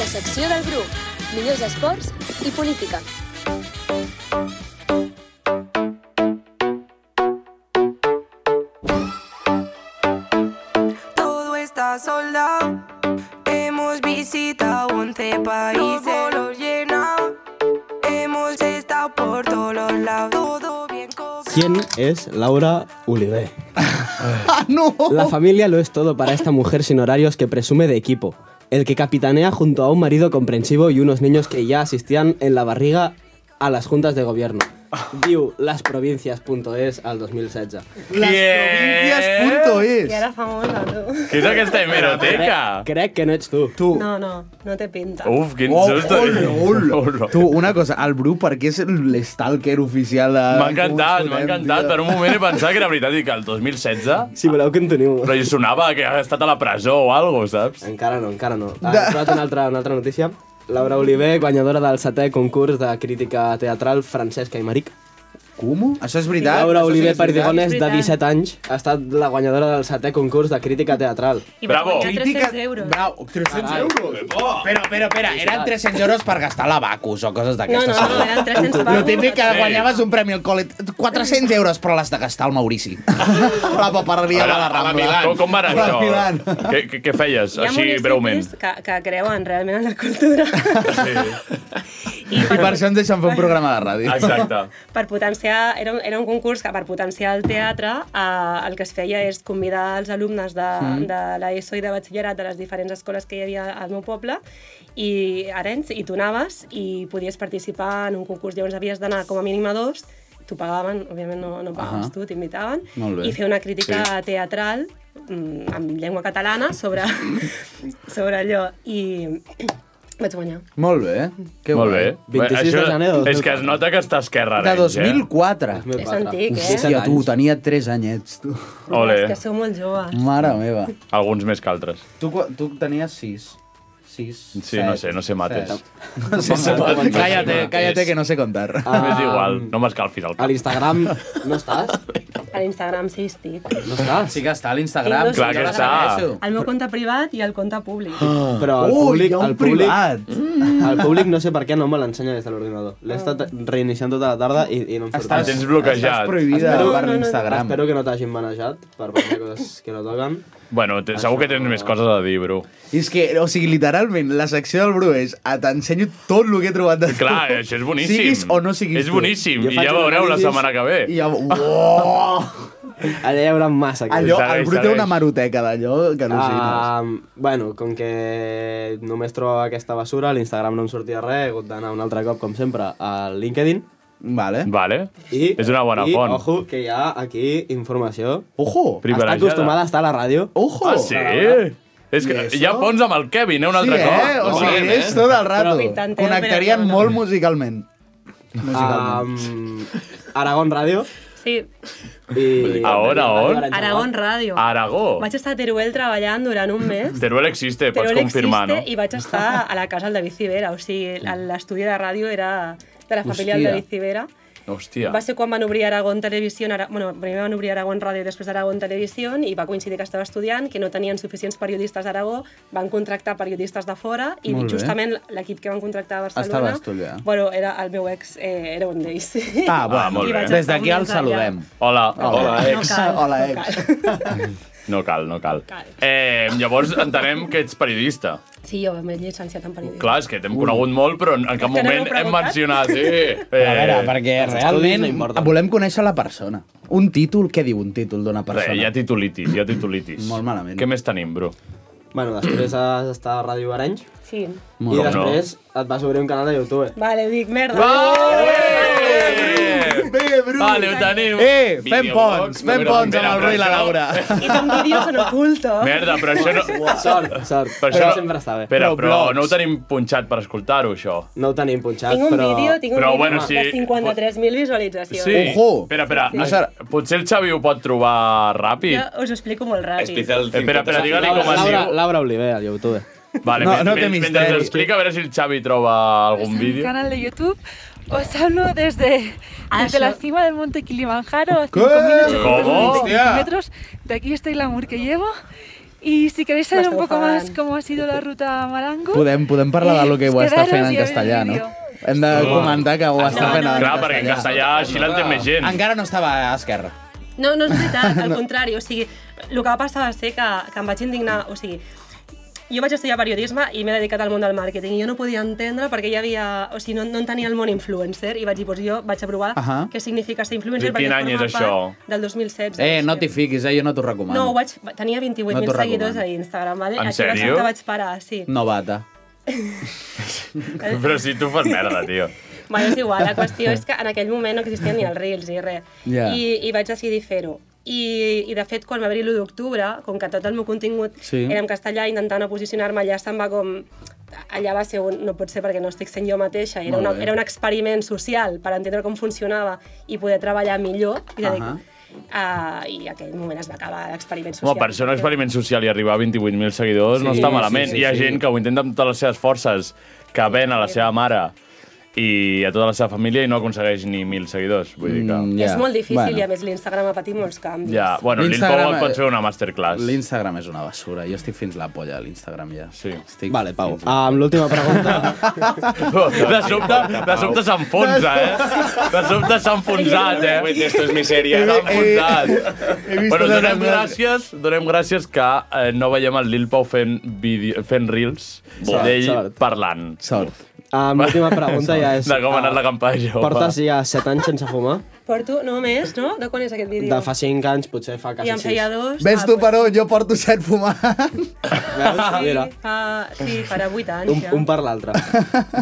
Speaker 5: La secció del grup. Millors esports i política.
Speaker 17: Todo está soldado. Hemos visitado 11 países. Todo lo llenado. Hemos estado por todos los lados. Todo bien cobrado.
Speaker 13: ¿Quién es Laura Ulibe?
Speaker 8: Ah, no!
Speaker 13: La familia lo es todo para esta mujer sin horarios que presume de equipo. El que capitanea junto a un marido comprensivo y unos niños que ya asistían en la barriga a las juntas de gobierno. Diu lasprovincias.es al 2016.
Speaker 9: I ara famosa, tu.
Speaker 2: Què és aquesta hemeroteca?
Speaker 13: Crec que no ets tu.
Speaker 8: Tu.
Speaker 9: No, no, no té pinta.
Speaker 2: Uf, quin susto.
Speaker 8: ol, ol. Oh, Tu, una cosa, el Bru, perquè és l'estalker oficial de...
Speaker 2: M'ha encantat, m'ha encantat. Per un moment he pensat que era veritat i que el 2016...
Speaker 13: Si voleu, continuo.
Speaker 2: Però hi sonava que ha estat a la presó o alguna cosa, saps?
Speaker 13: Encara no, encara no. Ah, he trobat una altra, una altra notícia. Laura Oliver, guanyadora del setè concurs de crítica teatral Francesca i Maric.
Speaker 8: Com? Això és veritat?
Speaker 13: Laura
Speaker 8: Això sí que
Speaker 13: Oliver
Speaker 8: és veritat?
Speaker 13: Perdigones,
Speaker 8: És
Speaker 13: de
Speaker 8: veritat.
Speaker 13: 17 anys, ha estat la guanyadora del setè concurs de crítica teatral.
Speaker 8: I va Bravo. guanyar 300 Crítica- euros. Bravo, 300 euros. Però, però, però, eren 300 euros per gastar l'abacus o coses d'aquestes.
Speaker 13: No, no, no, eren 300 pavos.
Speaker 8: Lo típic que
Speaker 13: Sí.
Speaker 8: guanyaves un premi al col·le. 400 euros, però l'has de gastar al Maurici. A la papereria de la Rambla.
Speaker 2: Com, com va anar
Speaker 8: A la
Speaker 2: això?
Speaker 8: Milan.
Speaker 2: Què, què, què feies,
Speaker 9: Hi ha
Speaker 2: així
Speaker 9: municipis
Speaker 2: breument?
Speaker 9: Que, que creuen realment en la cultura.
Speaker 8: I per això ens deixen fer un programa de ràdio.
Speaker 2: Exacte.
Speaker 9: per potenciar, era, un- era un concurs que per potenciar el teatre eh, el que es feia és convidar els alumnes de,
Speaker 18: Mm.
Speaker 9: mm. de l'ESO i de batxillerat de les diferents escoles que hi havia al meu poble i Arenys, i tu anaves i podies participar en un concurs. Llavors havies d'anar com a mínim a dos, t'ho pagaven, òbviament no, no pagaves
Speaker 8: Ahà.
Speaker 9: tu, t'invitaven,
Speaker 8: Molt bé.
Speaker 9: i fer una crítica
Speaker 8: Sí.
Speaker 9: sí. teatral mm, en llengua catalana sobre, sobre allò. I, Vaig guanyar.
Speaker 8: Molt bé. eh? Que
Speaker 2: Molt bé.
Speaker 8: 26 de gener de 2004.
Speaker 2: És que es nota que està esquerra, eh?
Speaker 8: De 2004.
Speaker 9: És antic, eh?
Speaker 8: Hòstia, tu, tenia 3 anyets, tu.
Speaker 2: Ole.
Speaker 9: És que sou molt joves.
Speaker 8: Mare meva.
Speaker 2: Alguns més que altres.
Speaker 8: Tu, qua- tu tenies 6. 6.
Speaker 2: Sí, no sé, no sé mates.
Speaker 8: No sé,
Speaker 2: No sé
Speaker 8: mates.
Speaker 2: mates.
Speaker 8: Cállate, cállate que no sé contar.
Speaker 2: Ah. M'és igual, no m'escalfis el cap.
Speaker 13: A l'Instagram no estàs?
Speaker 9: A l'Instagram sí estic.
Speaker 13: No està?
Speaker 8: Sí que està a
Speaker 9: Tinc
Speaker 8: l'Instagram.
Speaker 9: dos comptes. El meu compte privat i el compte públic.
Speaker 13: Però el
Speaker 8: Ui,
Speaker 13: públic,
Speaker 8: hi ha un
Speaker 13: el públic,
Speaker 8: privat.
Speaker 13: el públic no sé per què no me l'ensenya des de l'ordinador. L'he estat reiniciant tota la tarda i, i no em surt.
Speaker 8: Estàs- El tens bloquejat. estàs prohibida per l'Instagram.
Speaker 13: Espero que no t'hagin manejat per parlar coses que no toquen.
Speaker 2: Bueno, te, segur que tens més coses a dir, Bru.
Speaker 8: I és que, o sigui, literalment, la secció del Bru és "Ah, t'ensenyo tot el que he trobat de tu.
Speaker 2: Clar, això és boníssim.
Speaker 8: Siguis o no siguis
Speaker 2: És
Speaker 8: tu.
Speaker 2: boníssim, Jo i faig ja un veureu la anàlisi- setmana que ve.
Speaker 8: I ja... Uoh!
Speaker 13: Allà hi haurà massa. coses.
Speaker 8: Allò, el Bru té una maroteca d'allò que al·lucines.
Speaker 13: Ah, bueno, com que només trobo aquesta basura, a l'Instagram no em sortia res, he hagut d'anar un altre cop, com sempre, al LinkedIn.
Speaker 8: Vale.
Speaker 2: Vale.
Speaker 13: I,
Speaker 2: És una bona
Speaker 13: i,
Speaker 2: font.
Speaker 13: ojo, que hi ha aquí informació.
Speaker 8: Ojo!
Speaker 13: Està
Speaker 2: Privilegiada.
Speaker 13: acostumada a estar a la ràdio.
Speaker 8: Ojo!
Speaker 2: Ah, sí? És que ja pots amb el Kevin, eh, un altre
Speaker 8: sí,
Speaker 2: cop.
Speaker 8: eh? O
Speaker 2: No
Speaker 8: sigui,
Speaker 2: parem,
Speaker 8: és tot el rato.
Speaker 13: Però intentem, però
Speaker 8: Connectarien molt musicalment.
Speaker 13: Um, Aragón Ràdio.
Speaker 9: Sí,
Speaker 13: I...
Speaker 2: A on, a on?
Speaker 9: Aragón Ràdio.
Speaker 2: Ah. Aragó.
Speaker 9: Vaig estar a Teruel treballant durant un mes.
Speaker 2: Teruel existe, pots
Speaker 9: Teruel
Speaker 2: confirmar, no?
Speaker 9: existe i vaig estar a la casa del David Civera, o sigui, a l'estudi de ràdio era de la família del
Speaker 2: Hòstia.
Speaker 9: David Civera.
Speaker 2: Hòstia.
Speaker 9: Va ser quan van obrir Aragón Televisió, ara, bueno, primer van obrir Aragón Ràdio i després Aragón Televisió i va coincidir que estava estudiant, que no tenien suficients periodistes d'Aragó, van contractar periodistes de fora i
Speaker 8: Molt bé.
Speaker 9: justament l'equip que van contractar a
Speaker 8: Estava
Speaker 9: Barcelona...
Speaker 8: estudiant.
Speaker 9: Bueno, era el meu ex, eh, era un d'ells.
Speaker 8: Ah, bueno,
Speaker 2: Ah, molt
Speaker 8: I
Speaker 2: bé.
Speaker 8: vaig Des estar d'aquí un el mes allà. saludem.
Speaker 2: Hola, hola,
Speaker 8: Hola, eh?
Speaker 2: ex.
Speaker 8: ex. Hola, ex.
Speaker 2: No cal, no cal. Eh, llavors entenem que ets periodista.
Speaker 9: Sí, jo m'he llicenciat en periodisme.
Speaker 2: Clar, és que t'hem conegut molt, però en cap
Speaker 9: no m'ho
Speaker 2: moment
Speaker 9: he
Speaker 2: hem
Speaker 9: preguntat.
Speaker 2: mencionat... Sí, Eh,
Speaker 8: A veure,
Speaker 13: Eh,
Speaker 8: perquè
Speaker 2: els estudis
Speaker 8: realment
Speaker 2: no importen.
Speaker 8: volem conèixer la persona. Un títol, què diu un títol d'una
Speaker 2: Res,
Speaker 8: persona?
Speaker 2: hi ha titulitis, hi ha titulitis. Molt
Speaker 8: malament.
Speaker 2: Què més tenim, bro?
Speaker 13: Bueno, després has estat a Ràdio Arenys.
Speaker 9: Sí.
Speaker 13: I
Speaker 2: Molt bé.
Speaker 13: després et vas obrir un canal de YouTube.
Speaker 9: Vale, dic, merda.
Speaker 8: Bé, Bru!
Speaker 2: Vale, ho tenim.
Speaker 8: Eh, fem
Speaker 2: Videoblog
Speaker 8: ponts, fem
Speaker 2: número-
Speaker 8: ponts
Speaker 2: Espera,
Speaker 8: amb el Bru i la
Speaker 2: però això no-
Speaker 8: Laura.
Speaker 9: I amb vídeos en oculto.
Speaker 2: Merda, però això no...
Speaker 13: Sort, sort.
Speaker 2: Però,
Speaker 13: Però
Speaker 2: això no...
Speaker 13: sempre està bé.
Speaker 2: Espera,
Speaker 13: Però
Speaker 2: però,
Speaker 13: blogs.
Speaker 2: no ho tenim punxat per escoltar-ho, això.
Speaker 13: No ho tenim punxat,
Speaker 9: Tinc un vídeo, tinc un
Speaker 2: però,
Speaker 9: vídeo
Speaker 2: bueno,
Speaker 9: de
Speaker 2: sí,
Speaker 9: 53.000 visualitzacions.
Speaker 2: Sí. Espera, espera.
Speaker 9: Sí.
Speaker 2: no sé, Potser el Xavi ho pot trobar ràpid.
Speaker 9: Jo us ho explico molt ràpid.
Speaker 2: Espera, espera, digue-li com es
Speaker 13: Laura,
Speaker 2: diu.
Speaker 13: Laura Oliver, eh, al YouTube.
Speaker 2: Vale,
Speaker 13: No,
Speaker 2: men-
Speaker 13: no té
Speaker 2: men- mentre
Speaker 13: misteri.
Speaker 2: ens explica, a veure si el Xavi troba algun
Speaker 18: mi
Speaker 2: vídeo.
Speaker 18: canal de YouTube. Os hablo desde,
Speaker 17: Ah,
Speaker 18: desde la cima del monte Kilimanjaro, a
Speaker 2: ¿Qué?
Speaker 18: 5.825
Speaker 2: ¿Cómo?
Speaker 18: metros. De aquí este glamour que llevo. Y si queréis saber
Speaker 9: Me
Speaker 18: un
Speaker 9: está
Speaker 18: poco
Speaker 9: enfadando.
Speaker 18: más cómo ha sido la ruta a Marango,
Speaker 8: Podem, podem parlar de lo que ho està
Speaker 18: quedaros
Speaker 8: fent en
Speaker 18: i a veure el
Speaker 8: castellà, no?
Speaker 18: vídeo. Ah,
Speaker 8: Hem de comentar que ho està fent en
Speaker 2: Clar, perquè en castellà així l'entén més gent.
Speaker 8: Encara no estava a Esquerra.
Speaker 9: No, no és veritat, al contrari. O sigui, el que va passar va ser que, que em vaig indignar. O sigui, jo vaig estudiar periodisme i m'he dedicat al món del màrqueting i jo no podia entendre perquè hi havia... O sigui, no, no entenia el món influencer i vaig dir, doncs jo vaig aprovar
Speaker 8: Ahà.
Speaker 9: què significa ser influencer
Speaker 8: I quin
Speaker 9: perquè
Speaker 8: any
Speaker 9: forma
Speaker 8: és
Speaker 9: part
Speaker 8: això?
Speaker 9: del 2016.
Speaker 8: Eh, no t'hi fiquis, eh? Jo no t'ho recomano.
Speaker 9: No, ho vaig, tenia 28.000
Speaker 8: No t'ho
Speaker 9: seguidors
Speaker 8: recomano.
Speaker 9: a Instagram, vale?
Speaker 8: En
Speaker 9: Aquí va ser
Speaker 8: sèrio?
Speaker 9: que vaig parar, sí.
Speaker 8: Novata.
Speaker 2: Però si tu fas merda, tio.
Speaker 9: Bueno, és igual, la qüestió és que en aquell moment no existien ni els Reels ni res.
Speaker 2: Ja.
Speaker 9: I, I vaig decidir fer-ho. I, I de fet, quan va haver l'1 d'octubre, com que tot el meu contingut
Speaker 8: Sí.
Speaker 9: era en castellà, intentant no posicionar-me allà, se'm va com... Allà va ser un... No pot ser perquè no estic sent jo mateixa. Era,
Speaker 8: Molt
Speaker 9: una,
Speaker 8: bé.
Speaker 9: era un experiment social per entendre com funcionava i poder treballar millor. I, uh -huh.
Speaker 2: Ahà.
Speaker 9: uh, i aquell moment es va acabar l'experiment social.
Speaker 2: Home, per ser un experiment social i arribar a 28.000 seguidors no
Speaker 9: Sí,
Speaker 2: està
Speaker 9: sí,
Speaker 2: malament.
Speaker 9: sí, sí,
Speaker 2: Hi ha
Speaker 9: sí.
Speaker 2: gent que ho intenta amb totes les seves forces, que ven a la seva mare i a tota la seva família i no aconsegueix ni 1.000 seguidors. Vull dir
Speaker 8: Mm.
Speaker 2: que...
Speaker 9: És molt difícil i a més l'Instagram ha patit molts canvis.
Speaker 2: Ja, bueno,
Speaker 8: L'Instagram-
Speaker 2: l'Instagram... pot fer una masterclass.
Speaker 8: L'Instagram és una basura. Jo estic fins la polla a l'Instagram ja.
Speaker 2: Sí. Ah,
Speaker 8: Estic vale, Pau.
Speaker 13: Amb l'última pregunta.
Speaker 2: De sobte, de sobte s'enfonsa, eh? De sobte s'ha enfonsat, eh?
Speaker 10: Esto es miseria.
Speaker 2: S'ha enfonsat.
Speaker 8: Eh, He vist
Speaker 2: Bueno,
Speaker 8: una
Speaker 2: donem
Speaker 8: reunió-
Speaker 2: gràcies, donem gràcies que eh, no veiem el Lil Pau fent, vídeo, fent reels
Speaker 8: Sort,
Speaker 2: d'ell
Speaker 8: sort.
Speaker 2: parlant.
Speaker 8: Sort.
Speaker 13: Ah, la última pregunta ja és...
Speaker 2: De com ha anat la campanya, home.
Speaker 13: Portes ja 7 anys sense fumar?
Speaker 9: Porto, no més, no? De quan és aquest vídeo?
Speaker 13: De fa 5 anys, potser fa quasi
Speaker 9: I en
Speaker 13: 6.
Speaker 9: feia dos.
Speaker 8: Ves tu per on, jo porto set
Speaker 13: Doncs
Speaker 8: fumant.
Speaker 13: Veus? Mira,
Speaker 9: Fa, sí, farà 8 anys
Speaker 13: un,
Speaker 9: ja.
Speaker 13: un per l'altre.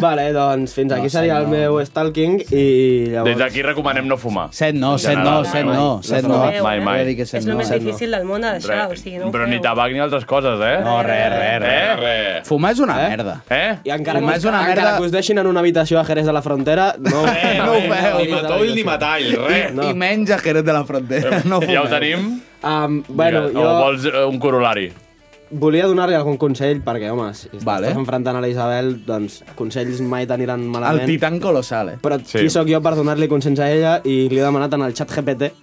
Speaker 13: Vale, doncs fins aquí seria el
Speaker 2: senyor.
Speaker 13: meu stalking i llavors...
Speaker 2: Des d'aquí recomanem no fumar.
Speaker 8: Set no, set no, set no, set no.
Speaker 2: Mai, mai.
Speaker 8: Jo dic que set
Speaker 9: És el més difícil del món de deixar, Ah, o sigui, no ho
Speaker 2: Però ni
Speaker 9: feu.
Speaker 2: tabac ni altres coses, eh?
Speaker 8: No, res, res, res.
Speaker 2: Eh?
Speaker 8: Fumar és una merda.
Speaker 2: Eh?
Speaker 13: I encara,
Speaker 8: Fumar
Speaker 13: que,
Speaker 8: és una
Speaker 13: encara
Speaker 8: merda.
Speaker 13: que us deixin en una habitació a Jerez de la Frontera, no,
Speaker 8: Eh, no ho feu. Ni matoll ni
Speaker 10: metall,
Speaker 8: I, no. I menys a Jerez de la Frontera. No
Speaker 2: Eh, Ja ho
Speaker 8: fumeu.
Speaker 2: tenim?
Speaker 13: Um, bueno,
Speaker 2: Vinga, O
Speaker 13: jo-
Speaker 2: vols eh, un corolari?
Speaker 13: Volia donar-li algun consell, perquè, home, si
Speaker 8: eh?
Speaker 13: vale. estàs enfrontant a la Isabel, doncs consells mai t'aniran malament.
Speaker 8: El titán colossal, eh?
Speaker 13: Però sí. qui sóc jo per donar-li consells a ella i li he demanat en el xat GPT.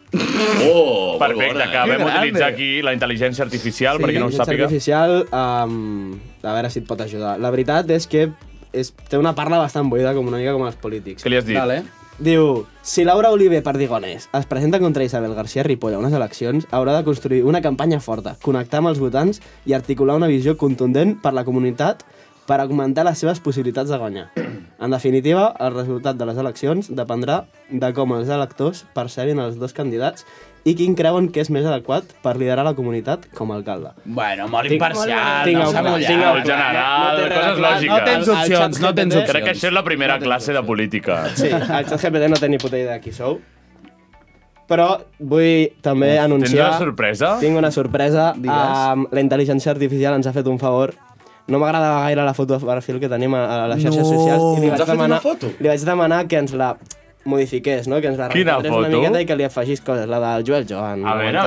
Speaker 2: Oh, Perfecte,
Speaker 13: bona, eh?
Speaker 2: que vam
Speaker 13: Que grande.
Speaker 2: utilitzar aquí la intel·ligència artificial, perquè no ho
Speaker 13: intel·ligència
Speaker 2: sàpiga.
Speaker 13: artificial, um, a veure si et pot ajudar. La veritat és que és, té una parla bastant buida, com una mica com els polítics.
Speaker 2: Què li has dit?
Speaker 13: Vale. Diu, si Laura Oliver Perdigones es presenta contra Isabel García Ripoll a unes eleccions, haurà de construir una campanya forta, connectar amb els votants i articular una visió contundent per la comunitat per augmentar les seves possibilitats de guanyar. En definitiva, el resultat de les eleccions dependrà de com els electors percebin els dos candidats i quin creuen que és més adequat per liderar la comunitat com a alcalde.
Speaker 8: Bueno, molt
Speaker 13: Tinc-
Speaker 8: imparcial,
Speaker 13: tinc
Speaker 8: no
Speaker 13: el-
Speaker 8: s'ha mullat.
Speaker 13: tinc
Speaker 2: El general,
Speaker 13: No té
Speaker 2: coses
Speaker 13: res,
Speaker 2: lògiques.
Speaker 13: no tens opcions, no tens opcions.
Speaker 2: Crec que això és la primera classe de política.
Speaker 13: Sí, el ChatGPT no té ni puta idea de qui sou. Però vull també
Speaker 2: Uf,
Speaker 13: anunciar...
Speaker 2: tens una sorpresa?
Speaker 13: Tinc una sorpresa.
Speaker 2: Digues.
Speaker 13: Um, la intel·ligència artificial ens ha fet un favor. No m'agradava gaire la foto de perfil que tenim a, a les xarxes
Speaker 8: No.
Speaker 13: socials. I li
Speaker 8: Ens
Speaker 13: vaig,
Speaker 8: ha fet una
Speaker 13: demanar,
Speaker 8: foto?
Speaker 13: li vaig demanar que ens la modifiqués, no? que ens la
Speaker 2: Quina
Speaker 13: retratés una
Speaker 2: foto?
Speaker 13: miqueta i que li afegís coses, la del Joel Joan.
Speaker 2: A veure, a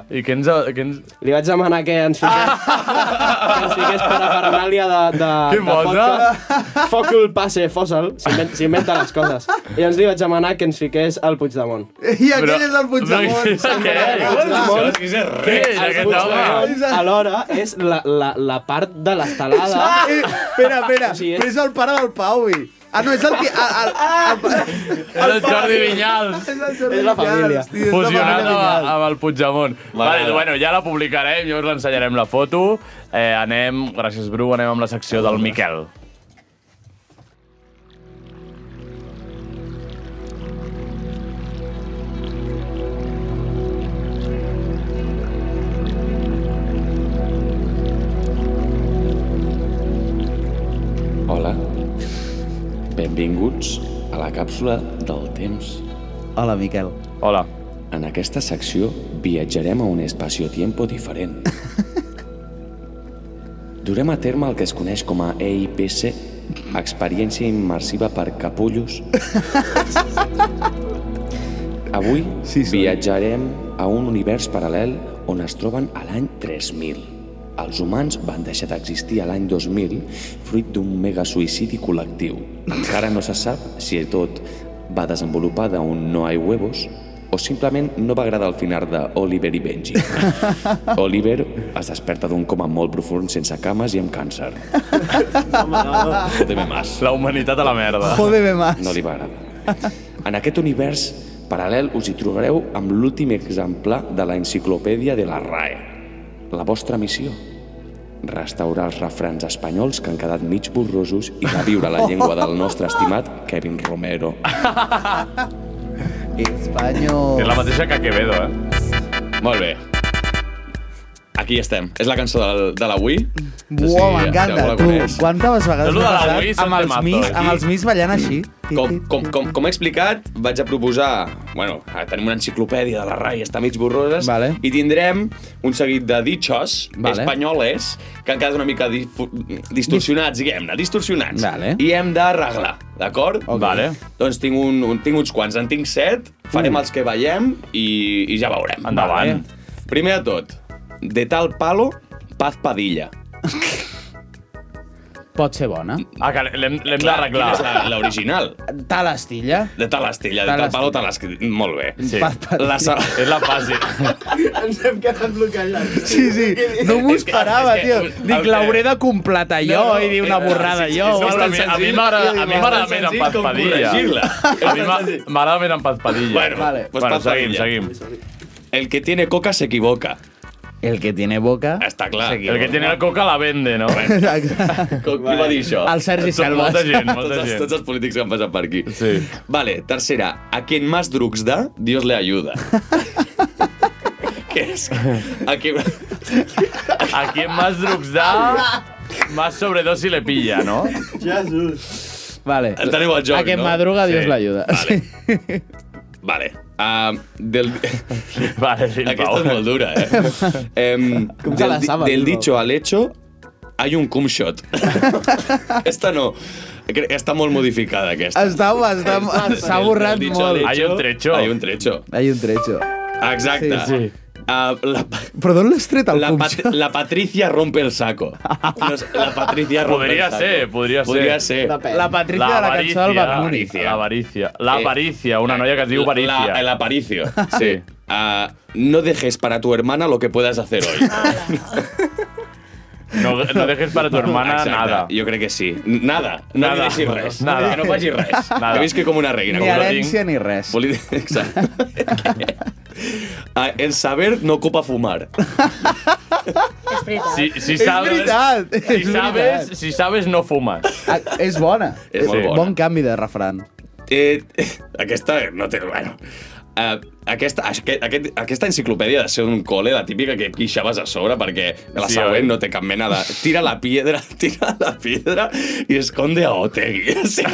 Speaker 2: veure... I què ens... Què ens...
Speaker 13: Li vaig demanar que ens
Speaker 8: Ah.
Speaker 13: fiqués, que ens fiqués per a Fernàlia de, de,
Speaker 2: Què
Speaker 13: de
Speaker 2: posa?
Speaker 13: podcast. Fòcul passe fòsol, s'inventa, s'inventa les coses. I llavors li vaig demanar que ens fiqués al Puigdemont.
Speaker 8: I aquell és el Puigdemont.
Speaker 13: Puigdemont,
Speaker 8: Què
Speaker 13: que el
Speaker 2: eh?
Speaker 13: Puigdemont alhora és la, la, la part de l'estelada.
Speaker 8: Eh, Espera, espera, però és el pare del Pauvi. Ah, no, és el que... El, el, el,
Speaker 2: el Jordi Vinyals.
Speaker 8: És el Jordi
Speaker 13: És la família.
Speaker 8: Vinyals, tio, és la
Speaker 2: Fusionat
Speaker 8: família
Speaker 2: amb,
Speaker 8: Vinyals.
Speaker 2: amb el Puigdemont. Vale, bueno, ja la publicarem, jo us l'ensenyarem la foto. Eh, anem, gràcies Bru, anem amb la secció del Miquel.
Speaker 10: Hola, benvinguts a la càpsula del temps.
Speaker 8: Hola, Miquel.
Speaker 2: Hola.
Speaker 10: En aquesta secció viatjarem a un espacio-tiempo diferent. Durem a terme el que es coneix com a E EIPC, experiència immersiva per capullos. Avui sí, viatjarem a un univers paral·lel on es troben a l'any 3000. Els humans van deixar d'existir a l'any 2000 fruit d'un mega suïcidi col·lectiu. Encara no se sap si tot va desenvolupar d'un no hay huevos o simplement no va agradar el final de Oliver i Benji. Oliver es desperta d'un coma molt profund sense cames i amb càncer. Jódeme más.
Speaker 2: La humanitat a la merda.
Speaker 8: Jódeme más.
Speaker 10: No li va agradar. En aquest univers paral·lel us hi trobareu amb l'últim exemplar de la enciclopèdia de la RAE. La vostra missió? Restaurar els refrans espanyols que han quedat mig borrosos i reviure la llengua del nostre estimat Kevin Romero.
Speaker 8: Espanyol.
Speaker 10: És la
Speaker 2: mateixa que Quevedo, eh?
Speaker 10: Molt bé. Aquí estem. És la cançó del, de l'avui.
Speaker 8: Buah, m'encanta, tu. Quantes vegades
Speaker 10: Saluda
Speaker 8: m'ha
Speaker 10: la
Speaker 8: passat
Speaker 10: Luisa
Speaker 8: amb els,
Speaker 10: Temazo,
Speaker 8: mis,
Speaker 10: aquí.
Speaker 8: amb els mis ballant així?
Speaker 10: Com, com, com, com he explicat, vaig a proposar... Bueno, ara tenim una enciclopèdia de la RAI, està mig borroses, vale. i tindrem un seguit de dichos
Speaker 8: Vale.
Speaker 10: vale. espanyoles que han quedat una mica difu- distorsionats, diguem-ne, distorsionats.
Speaker 8: Vale.
Speaker 10: I hem d'arreglar, d'acord? Okay. Vale. Doncs tinc, un, un, tinc uns quants, en tinc set, farem els que veiem i, i ja veurem.
Speaker 2: Endavant.
Speaker 10: Vale. Primer de tot, de tal palo, paz padilla.
Speaker 8: Pot ser bona.
Speaker 2: Ah, que l'hem l'hem d'arreglar.
Speaker 10: Quina és la- l'original?
Speaker 8: Tal estilla.
Speaker 10: De tal estilla, de
Speaker 8: Tal
Speaker 10: tal palo, tal escrit. Molt bé.
Speaker 8: Sí. Paz Padilla.
Speaker 10: La sa...
Speaker 2: És la fàcil.
Speaker 8: Ens hem quedat bloquejats. Sí, sí. No m'ho
Speaker 10: que-
Speaker 8: esperava,
Speaker 10: és que-
Speaker 8: tio. Dic,
Speaker 10: el-
Speaker 8: l'hauré de completar jo
Speaker 10: No, no,
Speaker 2: eh,
Speaker 8: i dir una
Speaker 2: ah,
Speaker 10: és-
Speaker 8: borrada
Speaker 10: sí, sí,
Speaker 8: jo.
Speaker 10: és
Speaker 8: o
Speaker 10: bastant
Speaker 8: algo.
Speaker 10: senzill.
Speaker 2: A mi m'agrada a mi m'agrada més
Speaker 10: Tan
Speaker 2: en
Speaker 10: senzill
Speaker 2: Paz
Speaker 10: com
Speaker 2: Padilla.
Speaker 10: corregir-la.
Speaker 2: A mi m'a- m'agrada més en Paz Padilla.
Speaker 10: Bueno, pues
Speaker 2: bueno
Speaker 10: Paz
Speaker 2: seguim,
Speaker 10: Padilla.
Speaker 2: seguim.
Speaker 10: El que tiene coca se equivoca.
Speaker 8: El que tiene boca...
Speaker 10: Està clar.
Speaker 2: El que tiene la coca la vende, no?
Speaker 8: Exacte.
Speaker 10: Qui va dir això?
Speaker 8: El Sergi
Speaker 10: Tot-
Speaker 8: Selva.
Speaker 10: Molta gent,
Speaker 2: molta
Speaker 10: tots, els-
Speaker 2: gent.
Speaker 10: Tots els polítics que han passat per aquí. Sí. Vale, tercera. A quien más drugs da, Dios le ayuda. Què és? A qui...
Speaker 2: A quien más drugs da, más sobredosis le pilla, ¿no?
Speaker 8: Jesús. Vale.
Speaker 10: Enteneu el joc,
Speaker 8: A que
Speaker 10: no?
Speaker 8: madruga Dios
Speaker 10: Sí.
Speaker 8: l'ayuda. Vale.
Speaker 10: Vale. Uh, del...
Speaker 2: Vale,
Speaker 10: Aquesta és molt dura, eh? Em,
Speaker 13: Com se
Speaker 10: del,
Speaker 13: la
Speaker 10: di-
Speaker 13: saben,
Speaker 10: del
Speaker 13: Bilbao?
Speaker 10: dicho al hecho hay un cum shot. Esta no. Cre- Està molt modificada, aquesta.
Speaker 8: Està, està, s'ha borrat
Speaker 10: Del dicho al
Speaker 8: molt.
Speaker 10: hecho, Hay un trecho.
Speaker 8: Hay un trecho.
Speaker 10: Exacte.
Speaker 8: Sí, sí.
Speaker 10: Ah, la,
Speaker 8: Però d'on l'has tret el
Speaker 10: la,
Speaker 8: cum
Speaker 10: Pat-
Speaker 8: shot?
Speaker 10: la Patricia rompe el saco. No sé, la Patricia rompe
Speaker 2: Podria
Speaker 10: el saco.
Speaker 2: ser, podria ser.
Speaker 10: Podria ser.
Speaker 8: La Patricia de la cançó del Bad Bunny.
Speaker 2: L'avarícia. L'avarícia. L'avarícia, una noia que es diu Avarícia.
Speaker 10: Eh, La- El aparicio, sí. Ah, no dejes para tu hermana lo que puedas hacer hoy.
Speaker 2: No, no dejes para tu hermana
Speaker 10: Exacte,
Speaker 2: nada.
Speaker 10: Jo crec que sí. Nada. No
Speaker 2: Nada.
Speaker 10: li deixis res.
Speaker 2: Nada.
Speaker 10: Que no facis res.
Speaker 2: Nada.
Speaker 10: He vist que com una reina.
Speaker 8: Ni
Speaker 10: com una
Speaker 8: herència ni res.
Speaker 10: Poli- Exacte. Ah, el saber no ocupa fumar.
Speaker 9: És veritat.
Speaker 2: Si, si
Speaker 8: És
Speaker 2: sabes,
Speaker 8: veritat,
Speaker 2: si
Speaker 8: és
Speaker 2: sabes,
Speaker 8: veritat.
Speaker 2: si sabes, no fumes.
Speaker 8: Ah, és bona.
Speaker 10: És molt bona.
Speaker 8: Bon canvi de refran.
Speaker 10: Eh, aquesta no té... Bueno, Uh, aquesta, aquest, aquest, aquesta enciclopèdia ha de ser un col·le, la típica que quixaves a sobre perquè la
Speaker 2: Sí,
Speaker 10: següent
Speaker 2: oi?
Speaker 10: no té cap mena de... Tira la piedra, tira la piedra i esconde a Otegi. Sí.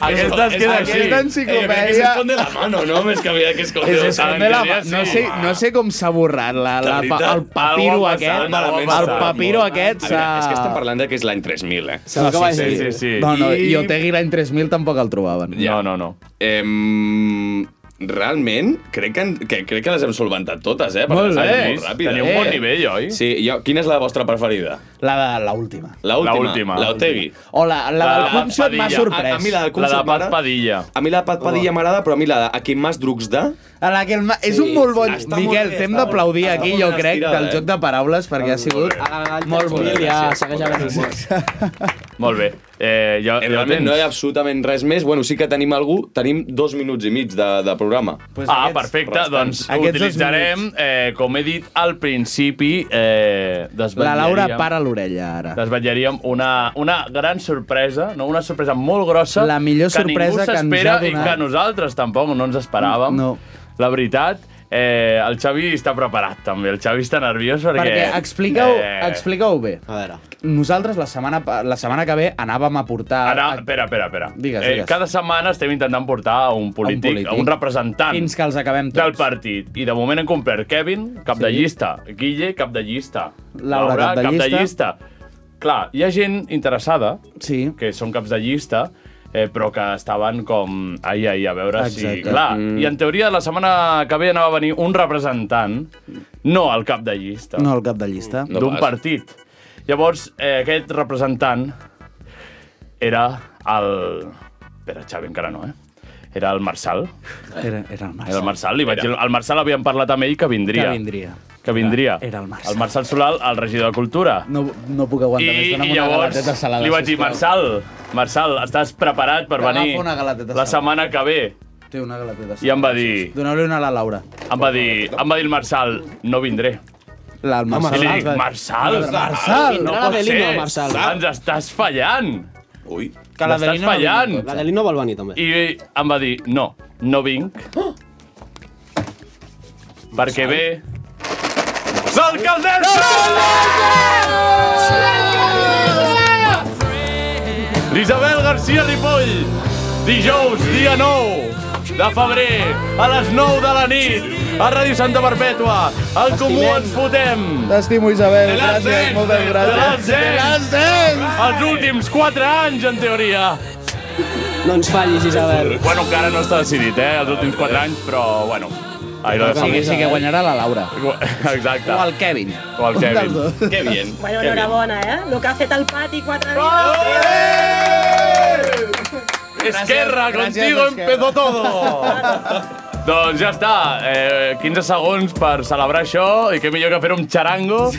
Speaker 2: Aquesta es queda així.
Speaker 8: Aquesta
Speaker 10: Eh, crec
Speaker 8: enciclopèdia-
Speaker 10: que s'esconde la mano, no? Més que havia que esconde
Speaker 8: És, és,
Speaker 10: la
Speaker 8: de la, no, sé, no sé com s'ha borrat la,
Speaker 10: De
Speaker 8: la, pa-
Speaker 10: veritat.
Speaker 8: el papiro
Speaker 10: Algo ha passat,
Speaker 8: aquest.
Speaker 10: algo ha
Speaker 8: El
Speaker 10: passat.
Speaker 8: papiro aquest
Speaker 10: A
Speaker 8: s'ha...
Speaker 10: veure, És que estem parlant de que és l'any 3000, eh?
Speaker 8: No, sí, sí, sí, No, no, i
Speaker 10: I-
Speaker 8: Otegi l'any 3000 tampoc el trobaven.
Speaker 10: Ja.
Speaker 2: No, no, no.
Speaker 10: Em, Mm, realment, crec que, en- que, crec que les hem solventat totes, eh? les
Speaker 8: Molt bé.
Speaker 10: hem molt ràpides.
Speaker 8: Teniu un bon
Speaker 2: nivell, oi?
Speaker 10: Sí, jo, quina és la vostra preferida?
Speaker 8: La de la última.
Speaker 10: La última.
Speaker 2: La última.
Speaker 10: La Otegui.
Speaker 8: O la, la, del cum shot m'ha sorprès.
Speaker 10: A, a mi la del
Speaker 2: La de Pat
Speaker 10: Padilla.
Speaker 2: Padilla.
Speaker 10: A mi la de Pat Padilla m'agrada, però a mi la de a qui més drucs de...
Speaker 8: A la que el ma... És un molt bon...
Speaker 10: està molt
Speaker 8: Miquel,
Speaker 10: bé,
Speaker 8: t'hem
Speaker 10: està
Speaker 8: d'aplaudir
Speaker 10: molt-
Speaker 8: aquí,
Speaker 10: està
Speaker 8: jo
Speaker 10: molt
Speaker 8: crec,
Speaker 10: estirada,
Speaker 8: del
Speaker 10: eh?
Speaker 8: joc de paraules, perquè ha sigut molt
Speaker 10: Molt bé,
Speaker 8: bonic.
Speaker 10: gràcies,
Speaker 13: segueix a la
Speaker 2: Molt bé. Eh, ja, ja ho
Speaker 10: Realment
Speaker 2: tens.
Speaker 10: no hi ha absolutament res més. Bueno, sí que tenim algú, tenim dos minuts i mig de, de programa.
Speaker 2: Pues ah, perfecte, doncs
Speaker 10: Aquests dos
Speaker 2: utilitzarem, eh, com he dit al principi, eh,
Speaker 8: La
Speaker 2: desvetllaríem,
Speaker 8: Laura para l'orella, ara.
Speaker 2: desvetllaríem una, una gran sorpresa, no? una sorpresa molt grossa
Speaker 8: La millor
Speaker 2: que
Speaker 8: sorpresa
Speaker 2: ningú
Speaker 8: que ens
Speaker 2: s'espera
Speaker 8: ha donat.
Speaker 2: i que nosaltres tampoc no ens esperàvem. No. La veritat, eh, el Xavi està preparat també, el Xavi està nerviós perquè...
Speaker 8: Perquè explica-ho
Speaker 2: Eh.
Speaker 8: explica bé. A veure. Nosaltres la setmana, pa- la setmana que ve anàvem a portar...
Speaker 2: Ara, espera, espera, espera.
Speaker 8: Digues,
Speaker 2: Eh,
Speaker 8: digues.
Speaker 2: cada setmana estem intentant portar un polític, un,
Speaker 8: polític.
Speaker 2: polític. un representant
Speaker 8: Fins que els acabem tots.
Speaker 2: del partit. I de moment hem complert Kevin, cap sí. de llista, Guille, cap de llista,
Speaker 8: Laura, cap de
Speaker 2: cap de
Speaker 8: llista.
Speaker 2: llista. Clar, hi ha gent interessada, sí. que són caps de llista, eh, però que estaven com... Ai, ai, a veure si...
Speaker 8: Exacte.
Speaker 2: Clar,
Speaker 8: Mm.
Speaker 2: mm. i en teoria la setmana que ve anava a venir un representant, no el cap de llista,
Speaker 8: No, al cap de llista.
Speaker 2: no d'un partit. Llavors, eh, aquest representant era el... Espera, Xavi, encara no, eh? Era el Marçal.
Speaker 8: Era, era el Marçal.
Speaker 2: Era el Marçal. Li vaig... El Marçal havíem parlat amb ell que vindria.
Speaker 8: Que vindria.
Speaker 2: Que vindria.
Speaker 8: Era el Marçal.
Speaker 2: El Marçal Solal, el regidor de Cultura.
Speaker 8: No, no puc aguantar més.
Speaker 2: I,
Speaker 8: Dona'm
Speaker 2: i
Speaker 8: una
Speaker 2: llavors
Speaker 8: galateta salada,
Speaker 2: li vaig dir,
Speaker 8: sisplau.
Speaker 2: Marçal, Marçal, estàs preparat per
Speaker 8: Agafa
Speaker 2: venir
Speaker 8: una galateta
Speaker 2: la
Speaker 8: salada."
Speaker 2: setmana que ve?
Speaker 8: Té una galateta salada.
Speaker 2: I em va dir,
Speaker 8: Doneu-li una a la Laura.
Speaker 2: em va dir, em va dir el Marçal, no vindré.
Speaker 8: La, el
Speaker 2: I
Speaker 8: Marçal.
Speaker 2: li dic, Marçal,
Speaker 8: Marçal!
Speaker 2: no pot ser, ens estàs fallant.
Speaker 10: Ui,
Speaker 13: Que la
Speaker 2: M'estàs
Speaker 13: d'Elino no
Speaker 2: fallant.
Speaker 13: La d'Elino vol venir, també.
Speaker 2: I em va dir, no, no vinc. Perquè ve... L'alcaldessa! L'Isabel García Ripoll, dijous, dia 9 de febrer, a les 9 de la nit, a Ràdio Santa Perpètua, al Comú ens fotem.
Speaker 8: T'estimo, Isabel. Gràcies,
Speaker 2: Gràcies,
Speaker 8: moltes gràcies.
Speaker 2: Els últims 4 anys, en teoria.
Speaker 13: No ens fallis, Isabel.
Speaker 2: Bueno, encara no està decidit, eh, els últims 4 anys, però bueno. Ahí lo
Speaker 8: Sí,
Speaker 2: dejamos.
Speaker 8: sí que guanyarà la Laura.
Speaker 2: Exacte.
Speaker 8: O el Kevin.
Speaker 2: O el
Speaker 8: dels
Speaker 2: Kevin.
Speaker 8: dos.
Speaker 10: Que bien.
Speaker 9: Bueno,
Speaker 2: que bien.
Speaker 9: enhorabona, eh? El que ha fet el pati quatre
Speaker 2: Esquerra,
Speaker 8: Gràcies,
Speaker 2: contigo
Speaker 8: Esquerra.
Speaker 2: empezó todo. Doncs ja està, eh, 15 segons per celebrar això i què millor que fer un xarango.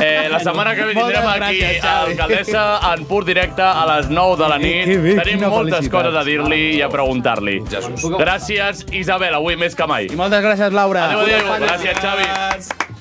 Speaker 2: Eh, la setmana que ve
Speaker 19: Moltes
Speaker 2: tindrem aquí
Speaker 19: gràcies,
Speaker 2: a
Speaker 19: Xavi.
Speaker 2: l'alcaldessa en pur directe a les 9 de la nit.
Speaker 19: Que bé,
Speaker 2: Tenim
Speaker 19: quina
Speaker 2: moltes
Speaker 19: felicitat. Ah.
Speaker 2: coses a dir-li i a preguntar-li. Gràcies, Isabel, avui més que mai. I moltes gràcies, Laura. Adéu, adéu. Gràcies, Xavi.